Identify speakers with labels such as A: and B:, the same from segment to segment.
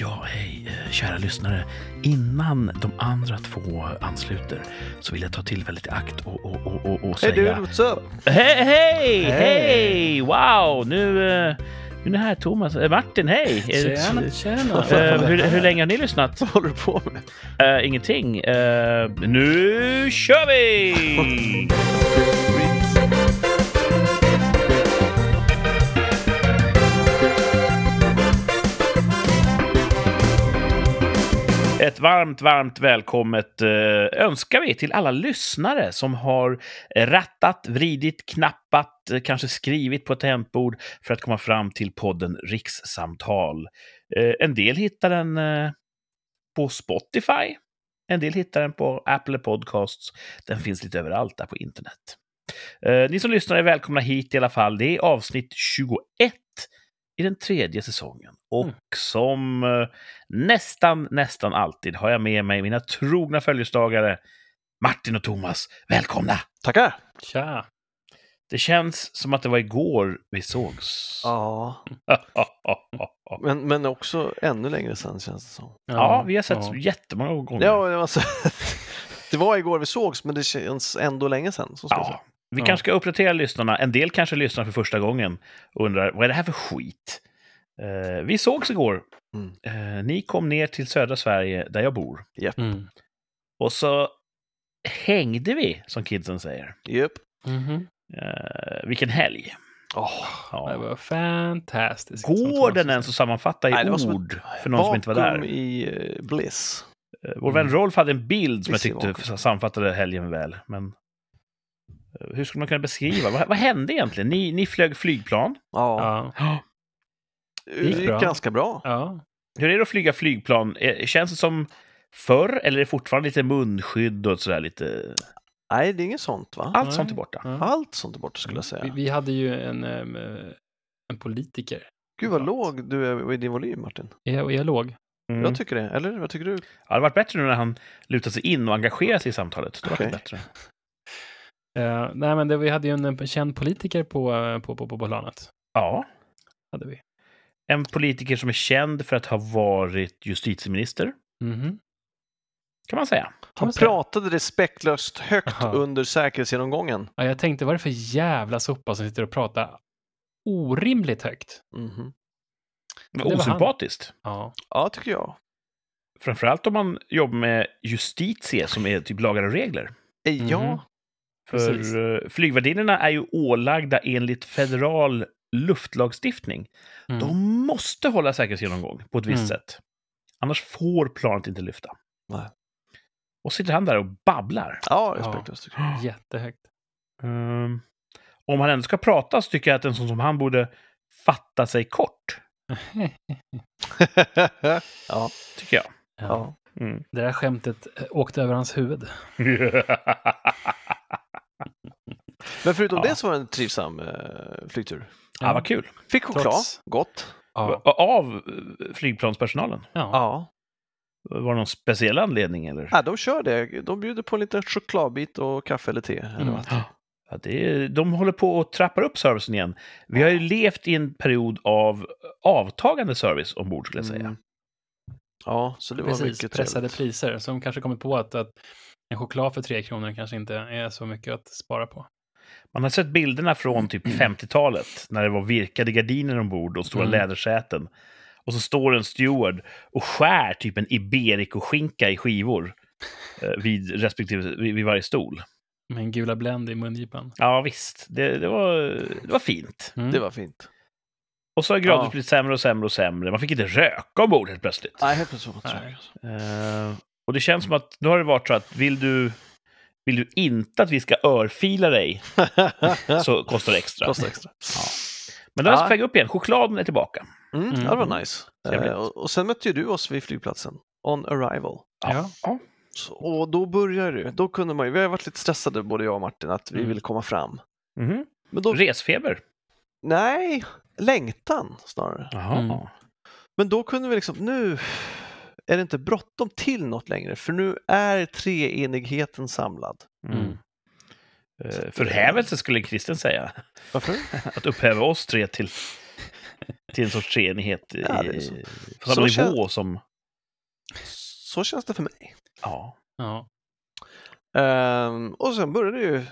A: Ja, hej eh, kära lyssnare. Innan de andra två ansluter så vill jag ta tillfället i akt och, och, och, och, och
B: Hej du,
A: säga...
B: what's up?
A: Hej, hej,
B: Hej.
A: hej! Wow, nu, eh, nu är det här Thomas. eh, Martin, hej!
C: Tjena, tjena.
A: Eh, hur, hur länge har ni lyssnat?
B: Vad håller du på med?
A: Eh, ingenting. Eh, nu kör vi! Ett varmt, varmt välkommet eh, önskar vi till alla lyssnare som har rattat, vridit, knappat, eh, kanske skrivit på ett tempord för att komma fram till podden Rikssamtal. Eh, en del hittar den eh, på Spotify. En del hittar den på Apple Podcasts. Den finns lite överallt där på internet. Eh, ni som lyssnar är välkomna hit i alla fall. Det är avsnitt 21 i den tredje säsongen. Och
C: Mm.
A: som eh, nästan, nästan alltid har jag med mig mina trogna följeslagare Martin och Thomas. Välkomna!
B: Tackar!
C: Tja.
A: Det känns som att det var igår vi sågs.
B: Ja, men, men också ännu längre sedan känns det som.
A: ja, vi har sett jättemånga gånger.
B: Ja, men alltså, det var igår vi sågs, men det känns ändå länge sedan. Så ska jag säga.
A: Ja. Vi
C: Ja.
A: kanske ska uppdatera lyssnarna. En del kanske lyssnar för första gången och undrar vad är det här för skit? Eh, vi sågs igår.
B: Mm.
A: Eh, ni kom ner till södra Sverige där jag bor.
C: Mm.
A: Och så hängde vi, som kidsen säger.
B: Japp.
C: Mhm.
A: Eh, vilken helg!
B: Åh,
C: Det
A: Ja.
C: var fantastiskt. som
A: Går
C: Thomas
A: den ens
C: sa.
A: att sammanfatta i
B: Nej, det var som ett
A: ord för någon som inte var
B: vakuum
A: där?
B: i Mm. eh, bliss.
A: Eh, Vår vän Rolf hade en bild som jag
B: Visst är det
A: tyckte
B: vakuum.
A: sammanfattade helgen väl. Men eh, hur skulle man kunna beskriva? vad, vad hände egentligen? Ni, ni flög flygplan.
B: Ja,
C: Ja.
B: det
C: gick
B: gick
C: bra.
B: ganska bra.
C: ja.
A: Hur är det att flyga flygplan? Eh, Känns det som förr, eller är det fortfarande lite munskydd och sådär lite?
B: Nej, Mm. det är inget sånt va?
A: Allt
C: Nej.
A: sånt är borta.
C: ja.
B: Allt sånt är borta skulle jag
C: Vi,
A: Mm,
B: säga.
C: vi hade ju en, ehm, eh, en politiker.
B: Gud vad låg du är i din volym Martin.
C: Är jag, är jag låg?
A: Mm.
B: Jag tycker det. Eller vad tycker du?
A: Ja, det hade varit bättre nu när han lutade sig in och engagerade sig i samtalet. Det hade varit
B: Okej.
A: bättre.
C: Eh, nej, men det, vi hade ju en, eh, känd politiker på, eh, på, på, på planet.
A: Ja,
C: Hade vi.
A: en politiker som är känd för att ha varit justitieminister,
C: Mhm.
A: kan man säga.
C: Kan
B: Han
C: man säga.
B: pratade respektlöst högt
C: Aha.
B: under säkerhetsgenomgången.
C: Ja, jag tänkte, vad är det för jävla soppa som sitter och pratar orimligt högt?
B: Mhm.
A: Det
C: var
A: var
C: han.
A: Osympatiskt.
C: Ja,
B: Ja, tycker jag.
A: Framförallt om man jobbar med justitie, som är typ lagar och regler.
B: Eh,
C: Mhm.
B: Ja,
C: Precis.
A: För eh, flygvärdinnorna är ju ålagda enligt federal luftlagstiftning
C: mm.
A: De måste hålla säkerhetsgenomgång på ett visst
C: Mm.
A: sätt. Annars får planet inte lyfta.
B: Nej.
A: Och sitter han där och babblar.
B: ja respektlöst. tycker jag.
C: jättehögt.
A: Ehm, om han ändå ska prata så tycker jag att en sån som han borde fatta sig kort.
B: ja,
A: Tycker jag.
B: ja.
A: Mm.
C: Det där skämtet eh, åkte över hans huvud.
B: Men förutom
A: Ja.
B: det så var det en trivsam eh, flygtur.
A: ja, vad kul.
B: Fick choklad,
C: Trots-
B: gott.
C: Ja.
A: Av eh, flygplanspersonalen.
C: Ja.
B: Ja.
A: Var det någon speciell anledning eller?
B: ja, de kör det. De bjuder på en liten chokladbit och kaffe eller te. Eller
C: Mm.
B: vad.
A: Ja, det är, de håller på och trappar upp servicen igen. Vi har ju levt i en period av avtagande service ombord skulle jag säga.
B: Mm. Ja, så det var
C: Precis,
B: mycket
C: pressade
B: trevligt.
C: priser som kanske kommit på att, att en choklad för tre kronor kanske inte är så mycket att spara på.
A: Man har sett bilderna från typ
B: Mm.
A: 50-talet när det var virkade gardiner ombord och stora
C: Mm.
A: lädersäten. Och så står en steward och skär typ en iberico-skinka i skivor eh, vid, respektive, vid, vid varje stol.
C: Med en gula Blend i mungipan.
A: Ja, visst. Det, det, var, det var fint.
C: Mm.
B: Det var fint.
A: Och så har det gradvis
B: Ja.
A: blivit sämre och sämre och sämre. Man fick inte röka ombord helt plötsligt.
B: Nej, helt plötsligt var det
C: Nej.
B: trevligt.
A: Eh, och det känns som att nu har det varit så att vill du, vill du inte att vi ska örfila dig så kostar det extra.
B: Kostar extra.
A: Ja. Men det har
B: Ja.
A: ja. upp igen. Chokladen är tillbaka.
B: Mm,
C: Mm.
B: ja, Det var nice.
A: Trevligt.
B: Eh, och, och sen mötte ju du oss vid flygplatsen, on arrival.
C: Ja.
A: Ja.
B: Så, och då börjar det. Då kunde man ju, vi har ju varit lite stressade både jag och Martin att vi
C: Mm.
B: ville komma fram.
A: Mhm.
B: Men då,
A: Resfeber.
B: nej, längtan snarare.
A: Jaha.
C: Mm.
B: Men då kunde vi liksom, nu är det inte bråttom till något längre för nu är treenigheten samlad.
C: Mm.
A: Eh, Förhävelse skulle kristen säga.
B: Varför?
A: Att upphäva oss tre till till en sorts treenighet i-
B: Ja, det är så.
A: på samma
B: Så
A: nivå som...
B: Så känns det för mig.
A: Ja.
C: Ja.
B: Ehm, och sen började ju eh,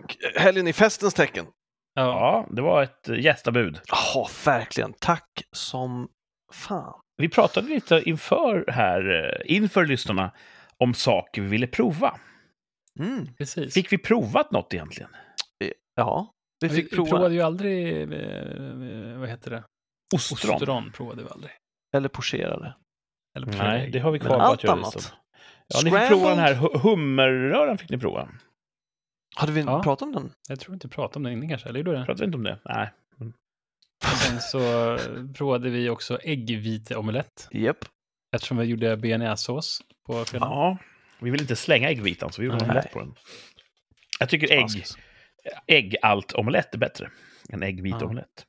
B: k- helgen i festens tecken.
C: Ja.
A: ja, det var ett eh, gästabud.
B: Ja, verkligen. Tack som fan.
A: Vi pratade lite inför här, eh, inför lyssnarna, om saker vi ville prova.
B: Mm.
C: precis.
A: Fick vi provat något egentligen?
B: Ja, vi
C: vi,
B: fick
C: vi
B: prova.
C: provade ju aldrig, eh, eh, vad heter det?
A: Ostron?
C: provade vi aldrig.
B: Eller pocherade.
C: Eller
A: Nej, det har vi
C: Men
A: kvar på
B: allt
A: att göra.
B: annat.
A: Liksom. Ja, ni fick prova den här hu- hummerröran. Fick ni prova.
B: Hade vi inte
C: Ja.
B: pratat om den?
C: Jag tror inte vi pratade om det innan kanske, eller gjorde vi det?
A: Pratade vi inte om det? Nej.
C: Och sen så eh, provade vi också äggviteomelett
B: Japp.
C: eftersom vi gjorde bearnaisesås på fredagen.
A: Ja, vi vill inte slänga äggvitan, så vi gjorde
C: Nej.
A: omelett på den. Jag tycker ägg,
B: Fantastiskt.
A: ägg allt omelett är bättre än äggviteomelett. Eh,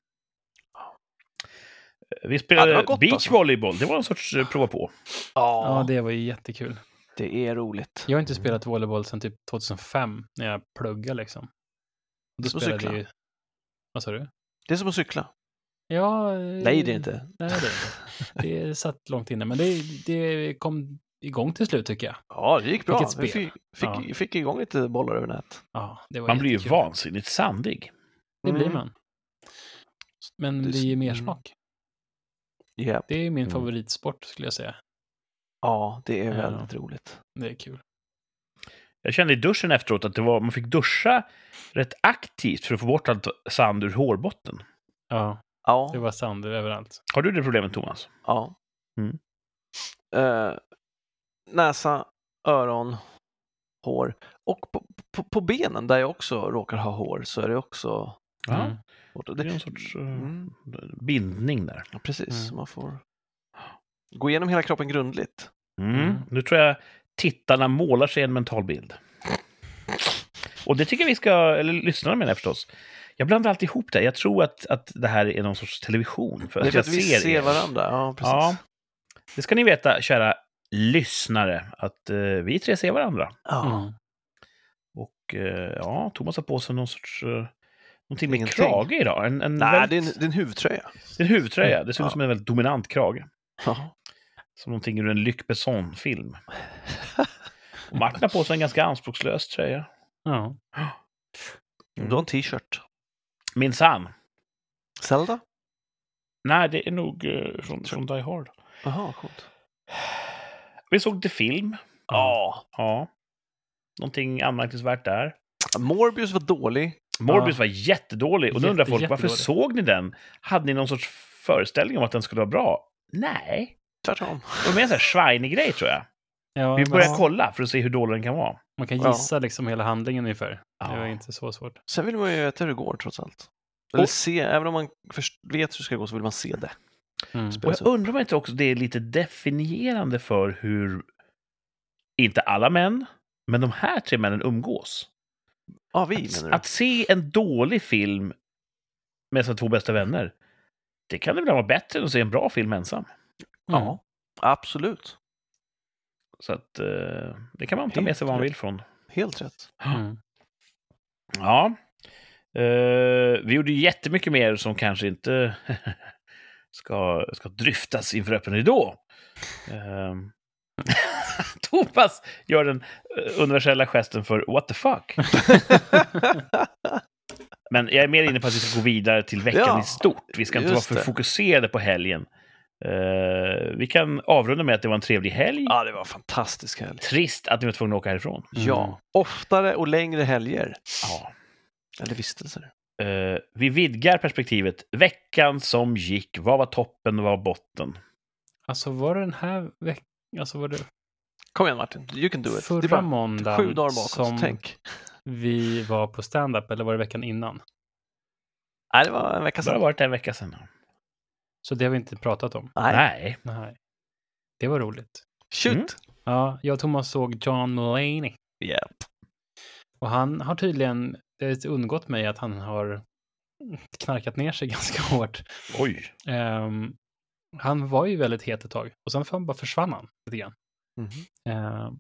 A: Vi
B: Ja, det
A: spelade
B: var gott,
A: beachvolleyboll. Det var en sorts eh, prova på.
B: Ja,
C: Ja,
B: det...
C: det var ju jättekul.
B: är roligt.
C: Jag har inte spelat volleyboll sedan typ 2005 när jag pluggade liksom. Och Då
B: Och
C: spelade jag
B: cykla.
C: ju... Vad sa du?
B: Det är som att cykla.
C: Ja... eh,
B: Nej, det
A: Mm.
B: är inte.
C: Nej, det är det. Det satt långt inne, men det, det kom igång till slut tycker jag.
B: Ja, det gick bra.
C: Vilket
B: Vi
C: spel.
B: fick, fick,
C: Ja.
B: fick igång lite bollar över nät.
C: Ja, det var
A: Man blir ju
C: jättekul.
A: vansinnigt sandig.
C: Det blir
B: Mm.
C: man. Men
B: Det är
C: det
B: s- mm.
C: ger mer smak.
B: Japp.
C: Det är min
A: Mm.
C: favoritsport skulle jag säga.
B: Ja, det är
C: Ja.
B: väldigt roligt.
C: Det är kul.
A: Jag kände i duschen efteråt att det var, man fick duscha rätt aktivt för att få bort allt sand ur hårbotten.
C: Ja, det
B: Ja,
C: var sand överallt.
A: Har du det problemet, Thomas?
B: ja.
A: Mm.
B: Eh, näsa, öron, hår. Och på, på, på benen där jag också råkar ha hår så är det också
A: Ja.
C: Mm.
B: svårt. Och
A: Det är
B: Det,
A: en sorts eh,
B: Mm.
A: bindning där.
B: ja, precis,
C: Mm.
B: man får gå igenom hela kroppen grundligt.
A: Mm.
C: Mm.
A: Nu tror jag tittarna målar sig en mental bild. Och det tycker jag vi ska, eller lyssnarna menar jag förstås. Jag blandar alltid ihop det. Jag tror att, att det här är någon sorts television. För
B: Det är
A: att
B: för
A: jag
B: att vi
A: ser,
B: ser
A: er.
B: varandra. Ja, precis.
A: Ja. Det ska ni veta, kära lyssnare, att eh, vi tre ser varandra.
B: Ja.
C: Mm.
A: Och eh, ja, Thomas har på sig någon sorts... Eh, någonting med
B: Ingenting.
A: krage idag. En, en,
B: Nej,
A: väldigt,
B: det är en, det är en huvtröja.
A: det är en huvtröja. Det ser
B: Ja.
A: ut som en väldigt dominant krage.
B: Ja.
A: Som någonting ur en Luc Besson-film. Och Martin har på sig en ganska anspråkslös tröja.
C: Ja.
A: Mm.
B: Du har en t-shirt.
A: Minsann.
B: Zelda?
A: Nej, det är nog eh, från, från Die Hard.
B: Jaha, coolt.
A: Vi såg The Film.
B: Ja.
A: Ja. Någonting anmärkningsvärt där.
B: Morbius var dålig.
A: Morbius
C: Ja.
A: var jättedålig. Och då
C: Jätte-
A: undrar folk, varför
C: jättedålig.
A: såg ni den? Hade ni någon sorts föreställning om att den skulle vara bra? Nej.
B: Tvärtom.
A: Det var mer en sån här Schweini-grej, tror jag.
C: Ja,
A: Vi
C: men
A: börjar
C: s-
A: kolla för att se hur dålig den kan vara.
C: man kan
B: Ja.
C: gissa liksom hela handlingen ungefär. Det var
A: Ja.
C: inte så svårt.
B: Sen vill man ju veta hur det går trots allt. Eller
A: Och-
B: se, även om man först- vet hur det ska gå så vill man se det.
C: Mm.
A: Och
B: spelas
A: jag undrar om inte också det är lite definierande för hur, inte alla män, men de här tre männen umgås.
B: Ja, vi menar
A: Att,
B: du?
A: att se en dålig film med sina två bästa vänner, det kan ibland vara bättre än att se en bra film ensam.
C: Mm.
B: Ja, absolut.
A: Så att eh, det kan man ta med sig vad man vill från.
B: Helt rätt.
C: Mm.
A: Ja. Eh, vi gjorde ju jättemycket mer som kanske inte ska, ska dryftas inför öppen ridå. Eh, Thomas gör den eh, universella gesten för what the fuck. Men jag är mer inne på att vi ska gå vidare till veckan
B: Ja,
A: i stort. Vi ska inte vara
B: just
A: för
B: det.
A: fokuserade på helgen. Eh, vi kan avrunda med att det var en trevlig helg.
B: Ja, det var en fantastisk helg.
A: Trist att ni var tvungna att åka härifrån.
C: Mm.
B: Ja, oftare och längre helger.
A: Ja.
B: Eller vistelser.
A: Eh, vi vidgar perspektivet. Veckan som gick, vad var toppen och vad var botten?
C: Alltså var det den här veckan, alltså var det
B: Kom igen Martin, you can do it. det är
C: förra
B: bara sju
C: måndagen
B: dagar bakåt,
C: som
B: tänk.
C: vi var på stand-up eller var det veckan innan?
B: Nej, det var en vecka
A: Det har
B: sedan.
A: varit en vecka sedan.
C: Så det har vi inte pratat om.
B: Nej,
A: Nej.
C: Nej. Det var roligt.
B: shoot!
A: Mm.
C: Ja, jag och Thomas såg John Mulaney.
B: Yep.
C: Och han har tydligen, det har undgått mig att han har knarkat ner sig ganska hårt.
A: Oj.
C: Ehm, han var ju väldigt het ett tag och sen fan bara försvann han lite grann.
B: Mhm.
C: Ehm,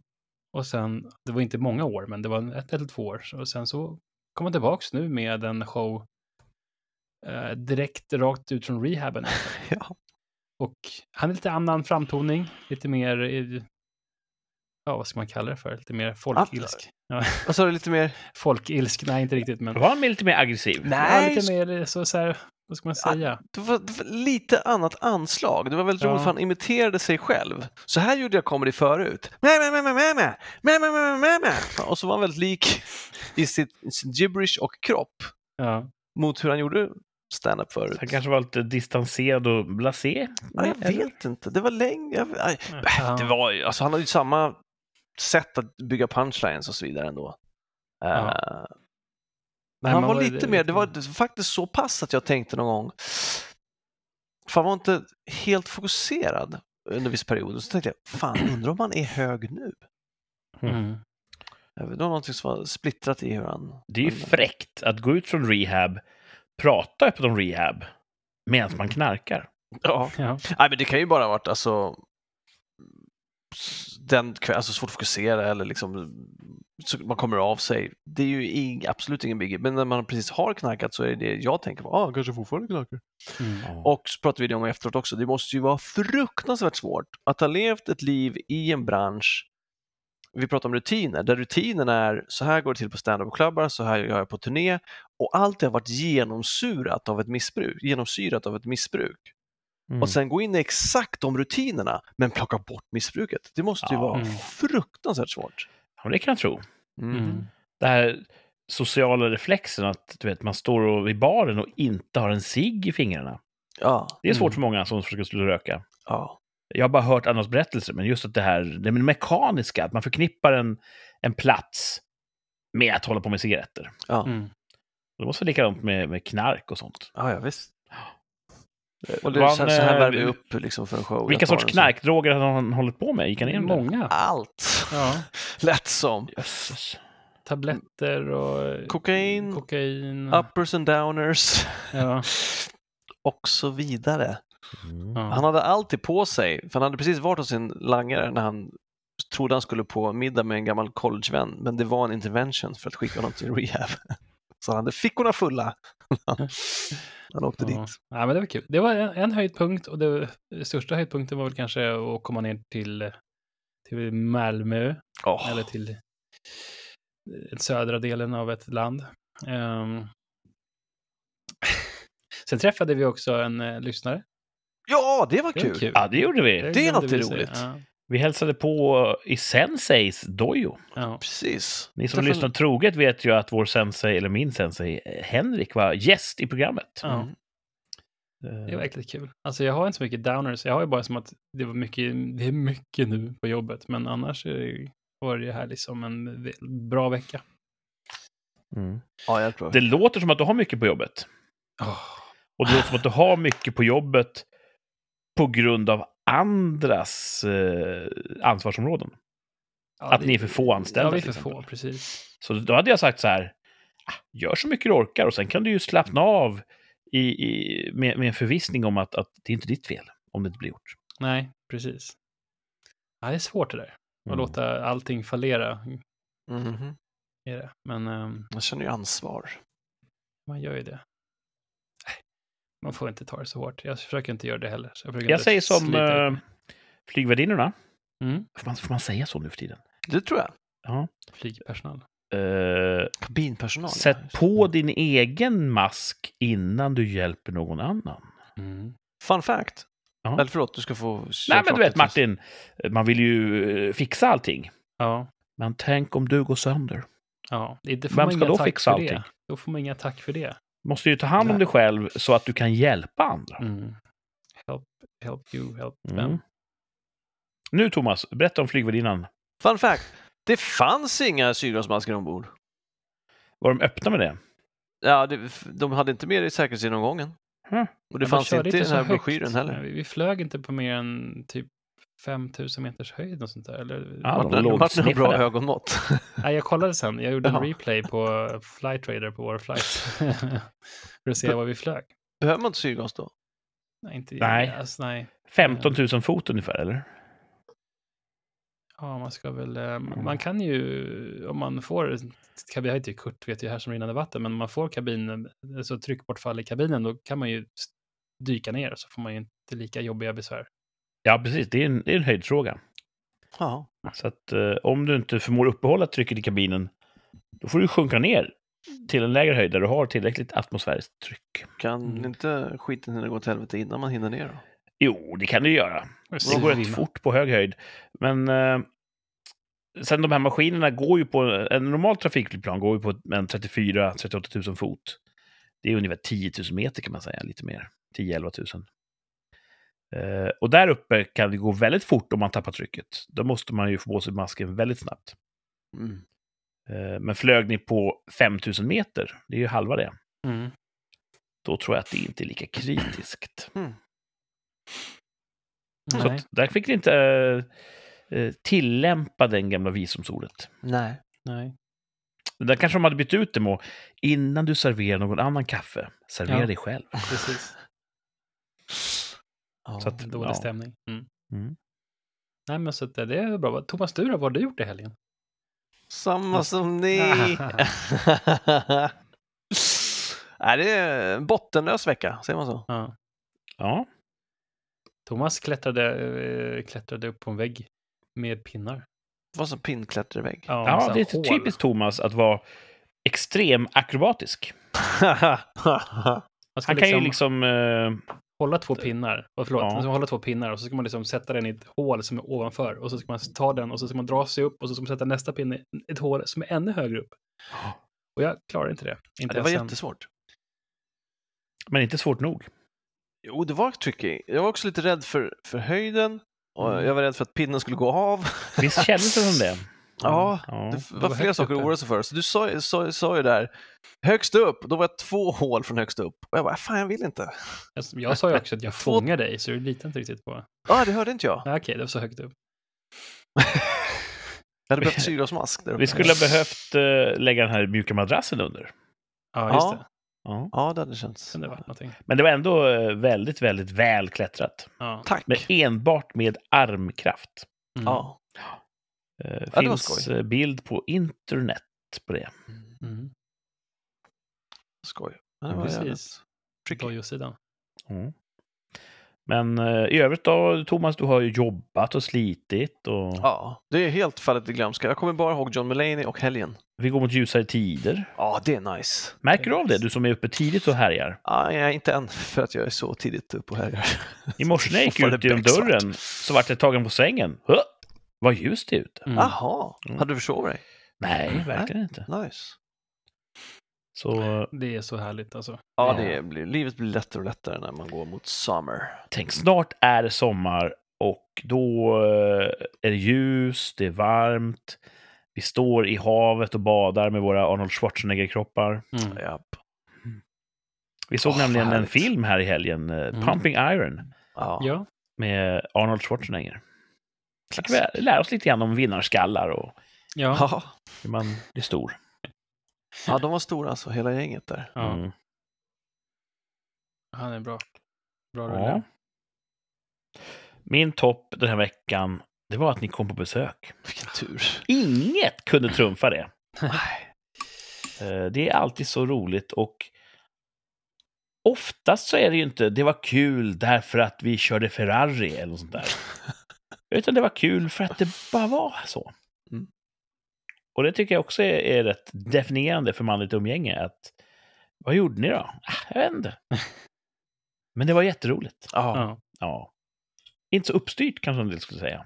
C: och sen, det var inte många år, men det var ett eller två år. Och sen så kom han tillbaks nu med en show eh, direkt rakt ut från rehaben.
B: Ja.
C: Och han är lite annan framtoning, lite mer, eh, ja vad ska man kalla det för, lite mer folkilsk. Ja,
B: Vad sa du lite mer?
C: folkilsk, nej inte riktigt men.
A: Var han lite mer aggressiv?
C: ja, lite mer så, så här, vad ska man
B: Ah.
C: säga?
B: det var, det var lite annat anslag. Det var väldigt
C: Ja.
B: roligt för han imiterade sig själv. Så här gjorde jag comedy förut. Mä, mä, mä, mä, mä, mä. Mä, mä, mä, mä, mä, mä. Och så var han väldigt lik i sitt, i sin gibberish och kropp
C: Ja.
B: mot hur han gjorde stand-up förut.
A: Han kanske var lite distanserad och blasé.
B: Ja, jag
A: Eller?
B: vet inte, det var länge. Jag, nej,
C: Ja.
B: det var, ju- alltså, han hade ju samma sätt att bygga punchlines och så vidare ändå. Eh,
C: Ja.
B: Men
C: Nej,
B: han
C: man
B: var
C: var ju
B: lite mer,
C: lite-
B: det var det var faktiskt så pass att jag tänkte någon gång, fan var inte helt fokuserad under viss period. Och så tänkte jag, fan undrar om han är hög nu?
C: Mm.
B: Jag vet, Det var någonting som var splittrat i hur han...
A: Det är ju fräckt att gå ut från rehab, prata öppet om rehab, medan man knarkar.
B: Ja.
C: Ja.
B: Nej, men det kan ju bara ha varit alltså s- den kväll, alltså svårt att fokusera eller liksom så man kommer av sig. Det är ju ing, absolut ingen biggie, men när man precis har knarkat så är det jag tänker på, ah, han kanske fortfarande knarkar.
C: Mm.
A: Och
B: Och så pratade vi det om efteråt också, det måste ju vara fruktansvärt svårt att ha levt ett liv i en bransch, vi pratar om rutiner, där rutinen är så här går det till på standup-klubbar, så här gör jag på turné och allt det har varit genomsyrat av ett missbruk, genomsyrat av ett missbruk
A: Mm.
B: och sen gå in i exakt de rutinerna men plocka bort missbruket. Det måste ju
A: Ja.
B: vara
C: Mm.
B: fruktansvärt svårt.
A: Ja, det kan jag tro.
C: Mm.
A: Det här sociala reflexen att du vet, man står och- vid baren och inte har en cigg i fingrarna.
B: Ja,
A: Det är svårt
C: Mm.
A: för många som försöker skulle röka.
B: ja.
A: Jag har bara hört andras berättelser, men just att det här det mekaniska, att man förknippar en, en plats med att hålla på med cigaretter.
C: Mm.
A: Det måste vara likadant med, med knark och sånt.
B: ja, ja visst. Och det,
A: Var
B: så, här, så här
A: han,
B: värmer vi
A: eh,
B: upp liksom för en show.
A: Vilka
B: Jag tar
A: sorts
B: den så. Mm,
A: knarkdroger har han hållit på med? Gick han igenom det?
C: Mm. Många.
B: Allt,
C: Ja.
B: lätt som.
A: Jösses.
C: Tabletter och
B: Kokain,
C: kokain.
A: Mm.
B: uppers and downers
C: Ja.
B: och så vidare.
C: Ja.
B: Han hade alltid på sig, för han hade precis varit hos sin langare när han trodde han skulle på middag med en gammal collegevän, men det var en intervention för att skicka honom till rehab. Så han hade fickorna fulla. Han åkte
C: Ja.
B: dit.
C: Ja, men det var kul. Det var en, en höjdpunkt och det, det största höjdpunkten var väl kanske att komma ner till, till Malmö
B: Åh,
C: eller till den södra delen av ett land. Ehm. Sen träffade vi också en eh, lyssnare.
B: Ja, det var
C: Det var
B: kul!
C: kul.
A: Ja, det gjorde vi.
B: Det är
C: glömde
B: alltid
C: vi säga.
B: roligt.
C: Ja,
A: Vi hälsade på i senseis dojo.
C: ja.
B: Precis.
A: Ni som
B: Träffade-
A: lyssnar troget vet ju att vår sensei, eller min sensei, eh, Henrik var gäst i programmet.
C: Ja.
B: Mm.
A: Eh,
C: Det är verkligen kul. Alltså jag har inte så mycket downers. Jag har ju bara som att det, var mycket, det är mycket nu på jobbet. Men annars är det, var det här liksom en ve- bra vecka.
A: mm.
B: Ja, jag tror
A: Det låter som att du har mycket på jobbet. Och det låter som att du har mycket på jobbet på grund av andras eh, ansvarsområden.
C: Ja,
A: Att ni är för få anställda,
C: Ja, vi är
A: till
C: för
A: exempel.
C: få, precis.
A: Så då hade jag sagt så här, "Ah, gör så mycket du orkar och sen kan du ju slappna av i, i, med, med en förvissning om att, att det är inte ditt fel om det inte blir gjort.
C: Nej, precis. Ja, det är svårt det där. Att
A: Mm.
C: låta allting fallera.
B: Mhm.
C: Är det. Men ehm,
B: Jag känner ju ansvar.
C: man gör ju det. Nej, Man får inte ta det så hårt. Jag försöker inte göra det heller. Så jag försöker
A: Jag
C: inte
A: säger som
C: slita i
A: eh,
C: det.
A: flygvärdinnorna.
C: mm,
A: Får man, får man säga så nu för tiden?
B: Det tror jag.
A: Ja.
C: flygpersonal.
A: Eh,
B: Kabinpersonal.
A: sätt på din egen mask innan du hjälper någon annan.
C: Mm.
B: Fun fact.
A: Ja.
B: Eller förlåt, du ska få...
A: Nej,
B: köra
A: men
B: klart
A: du vet
B: det.
A: Martin, man vill ju eh, fixa allting.
C: Ja,
A: Men tänk om du går sönder.
C: ja. Inte får
A: Vem
C: man
A: ska
C: inga
A: då
C: tack
A: fixa
C: för det.
A: allting?
C: Då får man inga tack för det.
A: Måste ju ta hand om
B: Nej.
A: dig själv så att du kan hjälpa andra.
C: Mm. Help, help you, help them.
A: Mm. Nu Thomas, berätta om flygvärdinnan.
B: Fun fact. Det fanns inga syrgasmasker ombord.
A: Var de öppna med det?
B: Ja, det, de hade inte med det i säkerhetsgenomgången.
A: Mm.
B: Och det
C: Ja, man
B: fanns
C: körde
B: inte i den
C: så
B: här
C: högt.
B: broschyren heller.
C: Nej, Vi, vi flög inte på mer än typ 5000 meters höjd och sånt där. Eller,
A: Ja, de
B: Martin,
A: låg
B: Martin har bra
A: sniffade.
B: ögonmått.
C: Nej, jag kollade sen. Jag gjorde en
B: Jaha.
C: replay på Flight Radar på vår flight. för att se vad vi flög.
B: Behöver man inte syrgas då?
C: Nej, inte,
A: Nej.
C: Alltså, nej.
A: 15 000 fot ungefär, eller?
C: Ja, man ska väl, eh,
A: Mm.
C: man kan ju, om man får, kabin, jag heter ju Kurt, vet ju här som rinnande vatten, men om man får kabinen, alltså tryckbortfall i kabinen, då kan man ju s- dyka ner så får man ju inte lika jobbiga besvär.
A: Ja, precis. Det är en, det är en höjdfråga.
B: Ja.
A: Så att eh, om du inte förmår uppehålla trycket i kabinen, då får du sjunka ner till en lägre höjd där du har tillräckligt atmosfäriskt tryck.
B: Kan
C: Mm.
B: inte skiten hinna gå till helvete innan man hinner ner då?
A: Jo, det kan du göra. Det går rätt fort på hög höjd. Men eh, sen de här maskinerna går ju på, en normal trafikflygplan går ju på en 34-38 000 fot. Det är ungefär 10 000 meter kan man säga, lite mer. 10-11 000. Eh, och där uppe kan det gå väldigt fort om man tappar trycket. Då måste man ju få på sig masken väldigt snabbt.
B: Mm.
A: Eh, men flög ni på 5 000 meter, det är ju halva det,
C: Mm.
A: då tror jag att det inte är lika kritiskt.
B: Hmm.
A: Så
C: Nej,
A: att där fick ni inte eh, eh, tillämpa den gamla visumsordet.
B: Nej.
C: nej.
A: Där kanske de hade bytt ut det mot innan du serverar någon annan kaffe, servera
C: Ja.
A: dig själv.
C: precis.
B: Ja.
A: Så att-
C: Dålig
A: ja.
C: stämning. Mm.
A: Mm.
C: Nej, men så att eh, det det är bra. Thomas, du då, vad har du gjort i helgen?
B: Samma som ni! Nej, det är en bottenlös vecka, säger man så?
C: Ja.
A: Ja,
C: Thomas klättrade, eh, klättrade upp på en vägg med pinnar.
B: Det var som pinnklättervägg.
C: Ja, med
A: ja
C: så här
A: det är
C: hål.
A: typiskt Thomas att vara extrem akrobatisk.
C: Man ska
A: Han kan ju liksom... eh,
C: hålla två
B: Typ.
C: pinnar, och förlåt,
A: Ja.
C: man ska hålla två pinnar och så ska man liksom sätta den i ett hål som är ovanför och så ska man ta den och så ska man dra sig upp och så ska man sätta nästa pinne i ett hål som är ännu högre upp. Och jag klarar inte det. Inte
B: det var
C: ens sen.
B: jättesvårt.
A: men inte svårt nog.
B: Jo, det var tricky. Jag var också lite rädd för, för höjden och
C: Mm.
B: jag var rädd för att pinnen skulle gå av.
A: Visst kändes det som det? Mm.
B: Ja,
A: Ja.
B: Det
C: det
B: var
C: var
B: flera
C: högt
B: saker att
C: uppe.
B: oroa sig för. Så du sa, sa, sa ju där, högst upp, då var jag två hål från högst upp. Och jag bara, fan jag vill inte.
C: Jag, jag sa ju också att jag
B: Två-
C: fångar dig, så du litar inte riktigt på...
B: Ja, ah, det hörde inte jag.
C: Nej, Okej, det var så högt upp.
B: Jag hade behövt syrgasmask där uppe.
A: Vi skulle ha behövt eh, lägga den här mjuka madrassen under.
C: Ja, just
B: Ja.
C: det.
A: Ja.
B: Ja, det hade känts.
C: Kunde det varit någonting.
A: Men det var ändå eh, väldigt, väldigt väl klättrat.
C: Ja.
B: Tack.
A: Men enbart med armkraft.
C: Mm.
B: Ja.
A: Eh,
B: var
A: finns
B: skoj.
A: eh, bild på internet på det.
C: Mm.
B: Skoj. Men det var
C: Precis.
B: jävligt tricky.
C: Dojosidan.
A: Mm. Men eh, i övrigt då, Thomas, du har ju jobbat och slitit och
B: Ja, det är helt fallet i glömska. Jag kommer bara ihåg John Mulaney och helgen.
A: vi går mot ljusare tider.
B: Ja, det är nice.
A: Märker du av det, du som är uppe tidigt och härjar?
B: Ah, jag är inte än, för att jag är så tidigt uppe och härjar.
A: I morse när jag gick
B: Fortfarande
A: ut genom
B: becksvart.
A: dörren så vart jag tagen på sängen. Hö! Vad ljust det är ute.
C: Mm.
B: Jaha,
A: Mm.
B: hade du försovit dig?
A: Nej, verkligen inte.
B: Nice.
A: Så eh,
C: Det är så härligt alltså.
B: Ja,
A: Ja.
B: det blir, livet blir lättare och lättare när man går mot summer.
A: tänk, snart är det sommar och då eh, är det ljus, det är varmt. Vi står i havet och badar med våra Arnold Schwarzenegger-kroppar.
C: Mm.
B: Japp.
A: Vi såg
B: Åh, vad
A: nämligen en
B: härligt.
A: film här i helgen, eh,
C: Mm.
A: Pumping Iron.
B: Ja.
C: Ja,
A: med Arnold Schwarzenegger. Fick
B: Klass.
A: vi lära oss lite grann om vinnarskallar och
C: ja.
B: Ja.
A: hur man blir stor.
B: ja, de var stora alltså, hela gänget där.
C: ja.
A: Mm.
C: han är bra. Bra
A: Ja.
C: rulle.
A: Min topp den här veckan, det var att ni kom på besök.
B: Vilken tur.
A: Inget kunde trumfa det.
B: Nej.
A: Eh, Det är alltid så roligt och oftast så är det ju inte det var kul därför att vi körde Ferrari eller något sånt där. Utan det var kul för att det bara var så.
B: Mm.
A: Och det tycker jag också är, är rätt definierande för manligt umgänge. Att, vad gjorde ni då? Ah, jag vet inte. Men det var jätteroligt.
B: Ja.
C: Ja.
A: Ja. Inte så uppstyrt kanske en del skulle säga.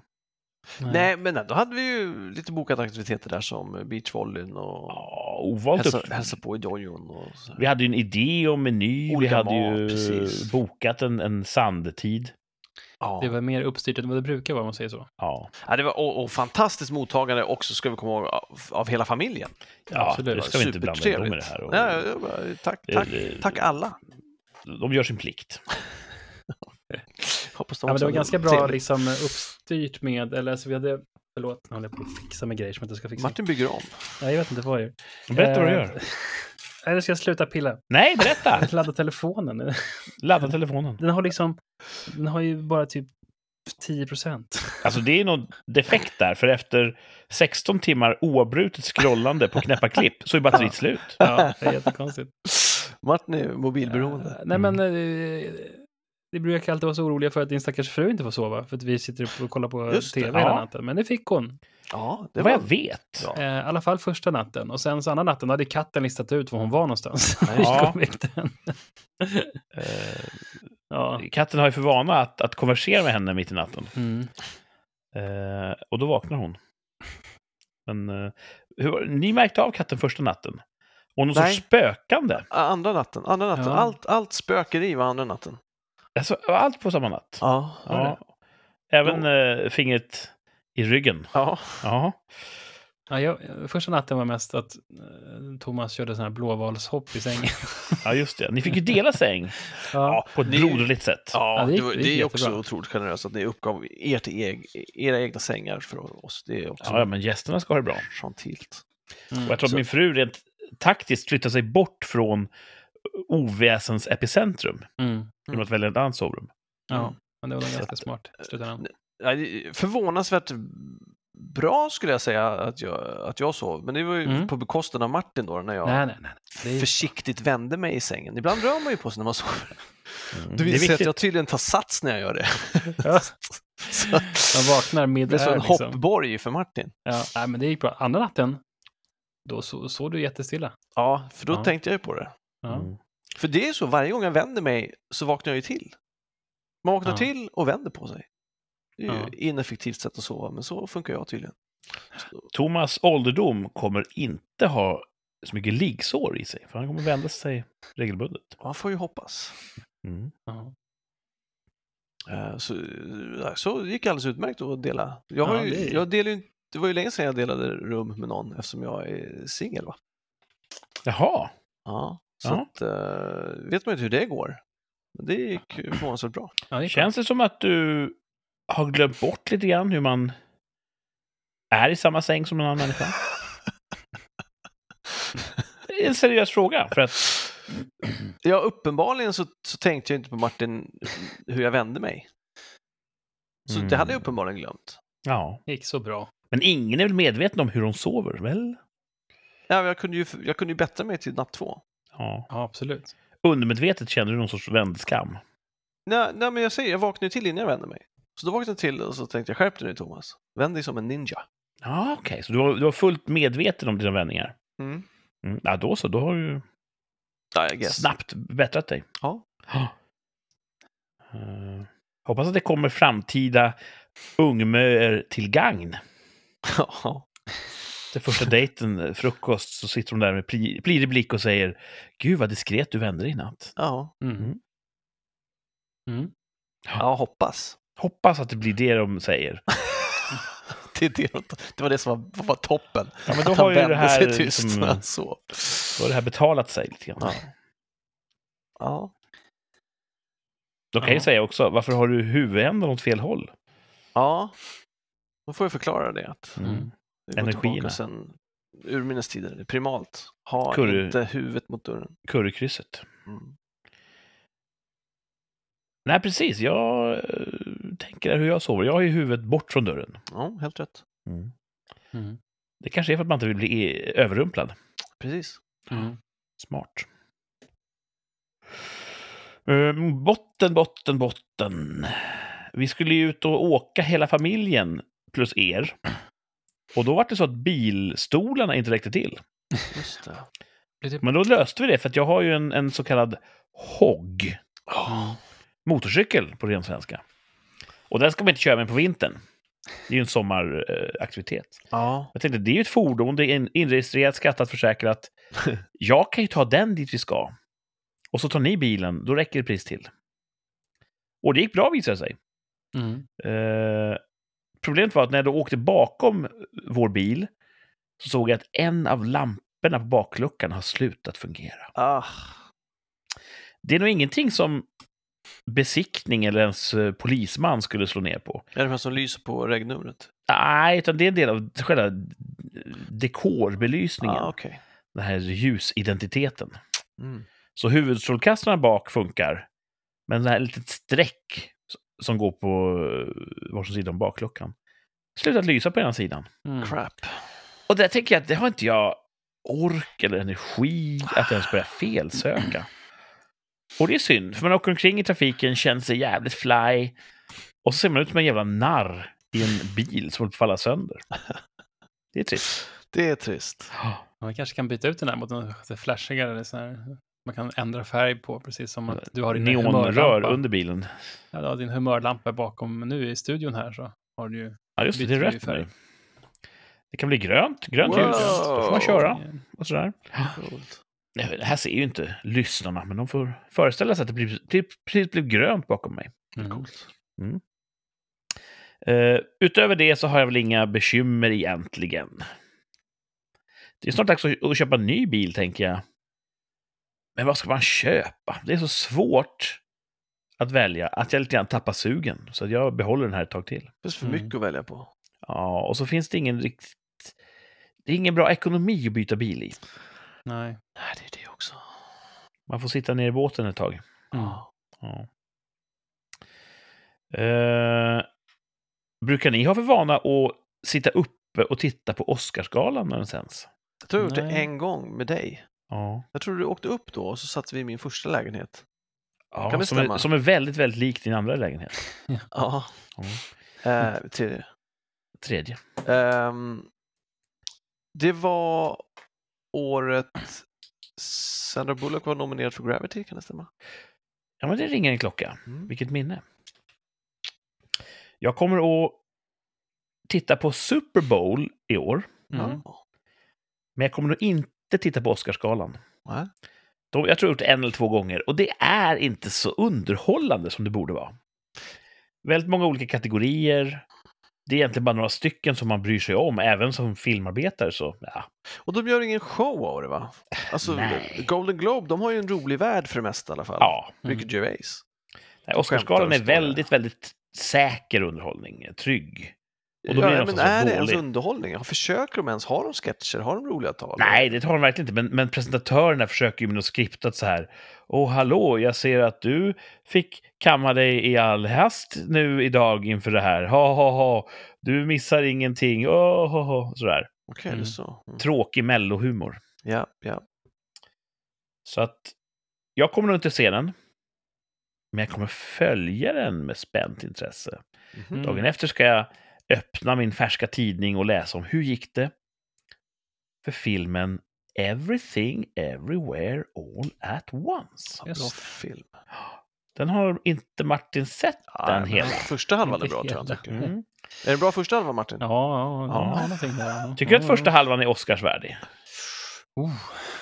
B: Nej, men då hade vi ju lite bokat aktiviteter där som beachvolleyn och
A: Ja, ovalt
B: hälsa,
A: uppstyrt.
B: hälsa på i dojon och så. här.
A: Vi hade ju en idé om meny.
B: Olika
A: vi hade ju
B: mat, precis.
A: bokat en, en sandtid.
B: Ja.
C: Det var mer uppstyrt än vad det brukar vara om man säger så.
A: Ja,
B: Ja, det var och, och fantastiskt mottagande också, ska vi komma ihåg, av, av hela familjen.
A: ja
C: Absolut.
A: det ska vi inte blanda ihop med det
B: Supertrevligt.
A: här. Och,
B: Ja, jag bara, tack,
A: Det-
B: tack,
A: det-
B: tack alla.
A: De gör sin plikt.
B: Hoppas de
C: Ja, men
B: också
C: det var
B: hade
C: ganska bra
B: trevligt.
C: liksom, uppstyrt med, eller alltså, vi hade, förlåt, nu håller jag på att fixa med grejer som jag inte ska fixa.
B: Martin bygger om.
C: Ja, jag vet inte vad jag gör.
A: Berätta vad du
C: Eh,
A: gör.
C: Nej, nu ska jag sluta pilla.
A: Nej, berätta!
C: Ladda telefonen.
A: Ladda telefonen.
C: Den har liksom, den har ju bara typ 10 procent.
A: Alltså det är någon defekt där, för efter 16 timmar oavbrutet scrollande på knäppa klipp så är batteriet slut.
C: Ja, det är jättekonstigt.
B: Martin är mobilberoende.
C: Eh, nej,
A: Mm.
C: men eh, det brukar alltid vara så oroliga för att din stackars fru inte får sova, för att vi sitter uppe och kollar på
B: Just det,
C: tv hela
A: ja.
C: natten. Men det fick hon.
B: Ja,
A: Det vad
B: det var
A: jag vet.
B: bra.
C: Eh, I alla fall första natten. Och sen så andra natten då hade katten listat ut var hon var någonstans.
B: Nej.
A: Ja.
C: Ja. den.
A: Eh,
C: ja.
A: katten har ju för vana att, att konversera med henne mitt i natten.
C: Mm.
A: Eh, och då vaknar hon. Men eh, hur, var det? ni märkte av katten första natten? Och någon
B: Nej.
A: sorts spökande.
B: Andra natten, andra natten.
C: Ja.
B: Allt, allt spökeri var andra natten.
A: Alltså, allt på samma natt.
B: Ja,
C: var
A: Ja. Även eh, fingret i ryggen.
B: ja.
A: Ja.
C: Ja, jag, första natten var mest att eh, Thomas körde sån här blåvalshopp i sängen.
A: ja, just det. Ni fick ju dela säng
C: Ja.
A: på ett
B: Ni-
A: broderligt sätt.
B: ja
C: det
B: det,
C: gick-
B: var,
C: det gick
B: det är också
C: jättebra.
B: otroligt generöst att ni uppgav er till eg, era egna sängar för oss. Det är också
A: Ja, ja, men gästerna ska ha det bra.
B: gentilt.
C: Mm.
A: Och jag tror att
B: Mm, Så-
A: min fru rent taktiskt flyttar sig bort från oväsens epicentrum
C: Mm.
A: genom att välja ett annat sovrum.
C: Ja,
B: Mm.
C: men det var nog
B: Så
C: ganska
B: att- eh,
C: smart i slutändan.
B: Ja, det är Förvånansvärt bra skulle jag säga att jag, att jag sov, men det var ju
C: Mm.
B: på bekostnad av Martin då när jag
C: Nej, nej, nej. Det är,
B: försiktigt vände mig i sängen. Ibland rör man ju på sig när man sover.
A: Mm. Det
B: Det
A: är
B: visar sig att
A: viktigt.
B: jag tydligen tar sats när jag gör det.
C: Ja.
B: Så att-
C: man vaknar
B: det är
C: mid
B: så en
C: air liksom.
B: hoppborg för Martin.
C: Ja, nej, men det gick bra. Andra natten, då så, såg du jättestilla.
B: Ja, för då
C: Ja.
B: tänkte jag ju på det.
C: Ja.
A: Mm.
B: För det är så, varje gång jag vänder mig så vaknar jag ju till. Man vaknar
C: Ja.
B: till och vänder på sig. Det är ju
C: Ja.
B: ineffektivt sätt att sova, men så funkar jag tydligen.
A: Thomas ålderdom kommer inte ha så mycket liggsår i sig, för han kommer vända sig regelbundet.
B: Man får ju hoppas.
A: Mm.
C: Ja.
B: Eh, Så, eh, så det gick alldeles utmärkt att dela. Jag har
C: Ja,
B: ju,
C: det är-
B: jag delar ju, inte- det var ju länge sedan jag delade rum med någon eftersom jag är singel. Va?
A: Jaha,
B: Ja. Så
A: Ja.
B: Att, eh, vet man ju inte hur det går. Men det gick ju förvånansvärt bra.
C: Ja, det gick bra.
A: känns det som att du har glömt bort lite grann hur man är i samma säng som en annan människa? Det är en seriös fråga, för att
B: Ja, uppenbarligen så, så tänkte jag inte på Martin eh, hur jag vände mig. Så det hade jag
A: Mm.
B: uppenbarligen glömt.
A: Ja.
C: Det gick så bra.
A: Men ingen är väl medveten om hur de sover, väl?
B: Ja, jag, kunde ju, jag kunde ju bättra mig till natt två.
A: Ja.
C: Ja, absolut.
A: Undermedvetet känner du någon sorts vändskam.
B: Nej, nej, men jag säger, jag vaknade ju till innan jag vände mig. Så då vaknade jag till och så tänkte jag, skärp dig nu Thomas. Vänd dig som en ninja.
A: Ja, okej. Så du var, du var fullt medveten om dina vändningar?
B: Mm.
A: Mm. Ja, då så. Då har du
B: Ja, I guess.
A: snabbt bättrat dig.
B: Ja.
A: Eh, hoppas att det kommer framtida ungmöer till gagn.
B: Ja.
A: Efter första dejten, eh, frukost, så sitter de där med pli- plirig blick och säger Gud vad diskret du vände dig i natt.
B: Ja,
C: Mm.
A: Mm.
C: Mm.
B: ja hoppas.
A: Hoppas att det blir det de säger.
B: Det, är det, det var det som var, var toppen.
A: Ja, men då
B: Att
A: har
B: han
A: ju det
B: vände
A: här,
B: sig tyst
A: liksom,
B: när han sov.
A: Då har det här betalat sig lite grann.
B: Ja. Ja.
A: Då kan jag ju
C: Ja.
A: säga också, varför har du huvudändan åt fel håll?
B: ja, då får jag förklara det. Att
C: Mm.
B: det går
A: Energierna.
B: tillbaka Sen, urminnes tider, det är primalt. Ha
A: Kurre.
B: inte huvudet mot dörren.
A: Currykrysset.
B: Mm.
A: Nej, precis. Jag eh, tänker hur jag sover. Jag har ju huvudet bort från dörren.
B: Ja, helt rätt.
C: Mm.
A: Det kanske är för att man inte vill bli eh, överrumplad.
B: Precis.
C: Mm.
A: Smart. Ehm, botten, botten, botten. Vi skulle ju ut och åka hela familjen plus er. Och då var det så att bilstolarna inte räckte till.
B: Just det.
C: Blir det...
A: Men då löste vi det, för att jag har ju en, en så kallad HOG.
B: Ja.
A: motorcykel på ren svenska. Och den ska man inte köra med på vintern. Det är ju en sommaraktivitet.
B: Ja.
A: Jag tänkte, det är ju ett fordon, det är in- inregistrerat, skattat, försäkrat. Jag kan ju ta den dit vi ska. Och så tar ni bilen, då räcker det pris till. Och det gick bra visade det sig.
C: Mm.
A: Eh, problemet var att när jag då åkte bakom vår bil så såg jag att en av lamporna på bakluckan har slutat fungera.
B: Ah.
A: Det är nog ingenting som besiktning eller ens eh, polisman skulle slå ner på.
B: Är det de här som lyser på regnumret?
A: Nej, utan det är en del av själva eh, dekorbelysningen.
B: Ah, okej.
A: Den här ljusidentiteten.
B: Mm.
A: Så huvudstrålkastarna bak funkar, men det här litet streck som går på eh, varsin sida om bakluckan slutat lysa på ena sidan.
C: Mm.
B: Crap.
A: Och där tänker jag att det har inte jag ork eller energi att ens börja felsöka. Och det är synd, för man åker omkring i trafiken, känner sig jävligt fly och så ser man ut som en jävla narr i en bil som håller på att falla sönder. Det är trist.
B: Det är trist.
C: Man kanske kan byta ut den där mot någon flashigare. Eller sån här. Man kan ändra färg på, precis som
B: Eh,
C: att du har din
A: Neonrör
C: humörlampa.
A: under bilen.
C: Ja, du har din humörlampa bakom nu i studion här så har du ju...
A: Ja, just det, det är
C: Byter ju
A: rött
C: färg.
A: nu. Det kan bli grönt, grönt
B: Wow.
A: ljus. Då får man köra
C: Eh,
A: och sådär.
B: Coolt.
A: Det här ser ju inte lyssnarna, men de får föreställa sig att det blir, blir, precis blir grönt bakom mig.
C: Mm.
B: Coolt.
A: Eh, utöver det så har jag väl inga bekymmer egentligen. Det är snart dags att, att köpa en ny bil, tänker jag. Men vad ska man köpa? Det är så svårt att välja att jag lite grann tappar sugen. Så att jag behåller den här ett tag till.
B: Det finns för
C: Mm.
B: mycket att välja på.
A: Ja, och så finns det ingen riktigt... Det är ingen bra ekonomi att byta bil i.
C: Mm. Nej.
B: Nej, det är det också.
A: Man får sitta ner i båten ett tag.
C: Mm.
A: Ja. Eh, brukar ni ha för vana att sitta uppe och titta på Oscarsgalan när den sänds?
B: Jag tror jag har gjort det
C: Nej.
B: en gång med dig.
A: Ja.
B: Jag tror du åkte upp då och så satt vi i min första lägenhet.
A: Ja,
B: Kan det
A: som, är,
B: stämma?
A: som är väldigt, väldigt lik din andra lägenhet.
B: Ja. Eh, till,
A: Tredje.
B: Ehm, det var året Sandra Bullock var nominerad för Gravity, kan det stämma?
A: Ja, men det ringer en klocka.
B: Mm.
A: Vilket minne. Jag kommer att titta på Super Bowl i år,
C: Mm.
B: Ja.
A: men jag kommer nog inte titta på Oscarsgalan.
B: Nej.
A: De, jag tror jag har gjort det en eller två gånger och det är inte så underhållande som det borde vara. Väldigt många olika kategorier. Det är egentligen bara några stycken som man bryr sig om, även som filmarbetare. Så, ja.
B: Och de gör ingen show av det, va? Alltså,
A: Nej.
B: Golden Globe, de har ju en rolig värld för det mesta i alla fall.
A: ja.
B: Ricky Gervais.
A: Nej,
B: Skämtar
A: Oscarsgalan
B: och
A: är
B: står där.
A: väldigt, väldigt säker underhållning. Trygg. Och då
B: ja,
A: blir den
B: men
A: så
B: är det ens
A: dålig.
B: underhållning? Ja, Försöker de ens? Har de sketcher? Har de roliga tal?
A: Nej, det tar de verkligen inte. Men, men presentatörerna försöker ju med något skriptat så här. Åh, hallå, jag ser att du fick kamma dig i all hast nu idag inför det här. Ha, ha, ha. Du missar ingenting. Oh, ha, ha. Sådär.
B: Okej, det är
C: Mm.
B: så. Mm.
A: Tråkig mellohumor.
B: Ja, ja.
A: Så att jag kommer nog inte se den. Men jag kommer följa den med spänt intresse.
B: Mhm.
C: Mm.
A: Dagen efter ska jag öppna min färska tidning och läsa om hur gick det för filmen Everything Everywhere All At Once.
B: Ja, bra
C: Just.
B: film.
A: Den har inte Martin sett den
B: men
A: hela.
B: Första halvan är bra,
C: Inte
B: tror jag.
C: hela.
B: tycker.
A: Mm.
B: Är det bra första halvan, Martin?
C: Ja, ja, de
B: Ja.
C: har någonting där. Ja.
A: Tycker du
C: Ja,
A: att första
C: ja.
A: halvan är Oscarsvärdig?
C: Oh,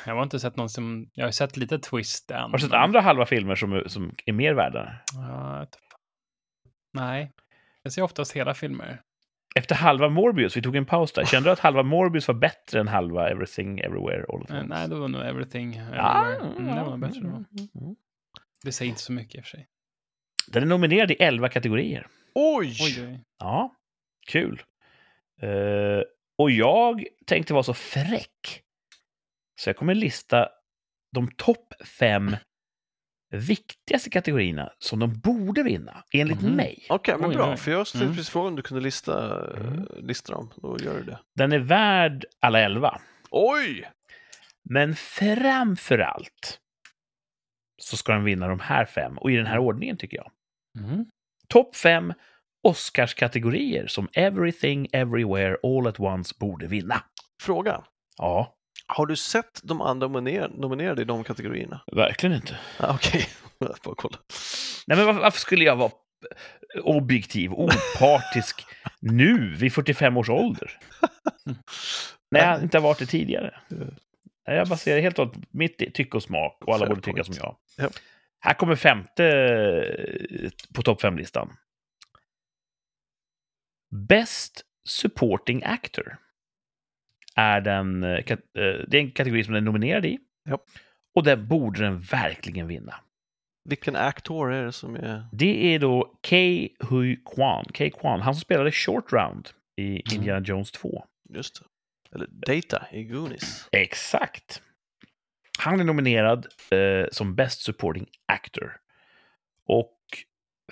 C: jag har inte sett någon som... Jag har sett lite twist än.
A: Har du sett
C: men-
A: andra halva filmer som, som är mer värda?
C: Ja, jag vet inte. Nej. Jag ser oftast hela filmer. Eh,
A: Efter halva Morbius, vi tog en paus där, kände du att halva Morbius var bättre än halva Everything Everywhere All At
C: Eh,
A: Once? Ah.
C: Nej, då var nog Everything.
A: Ja,
C: Everywhere. Mm, det var nog bättre då. Det säger inte så mycket i och för sig.
A: Mm. Den är nominerad i elva kategorier.
B: Oj!
C: Oj, oj.
A: Ja, kul. Eh, och jag tänkte vara så fräck. Så jag kommer lista de topp fem viktigaste kategorierna som de borde vinna, enligt
C: Mhm.
A: mig.
B: Okej, men
C: Oj,
B: bra.
C: oj.
B: För jag skulle
C: Mm.
B: precis fråga om du kunde lista,
A: Mm.
B: lista dem. Då gör du det.
A: Den är värd alla elva.
B: Oj!
A: Men framför allt så ska den vinna de här fem, och i den här ordningen tycker jag.
C: Mm.
A: Topp fem Oscarskategorier som Everything, Everywhere, All at Once borde vinna.
B: Fråga.
A: Ja,
B: Ah,
A: eh, eh, eh, eh,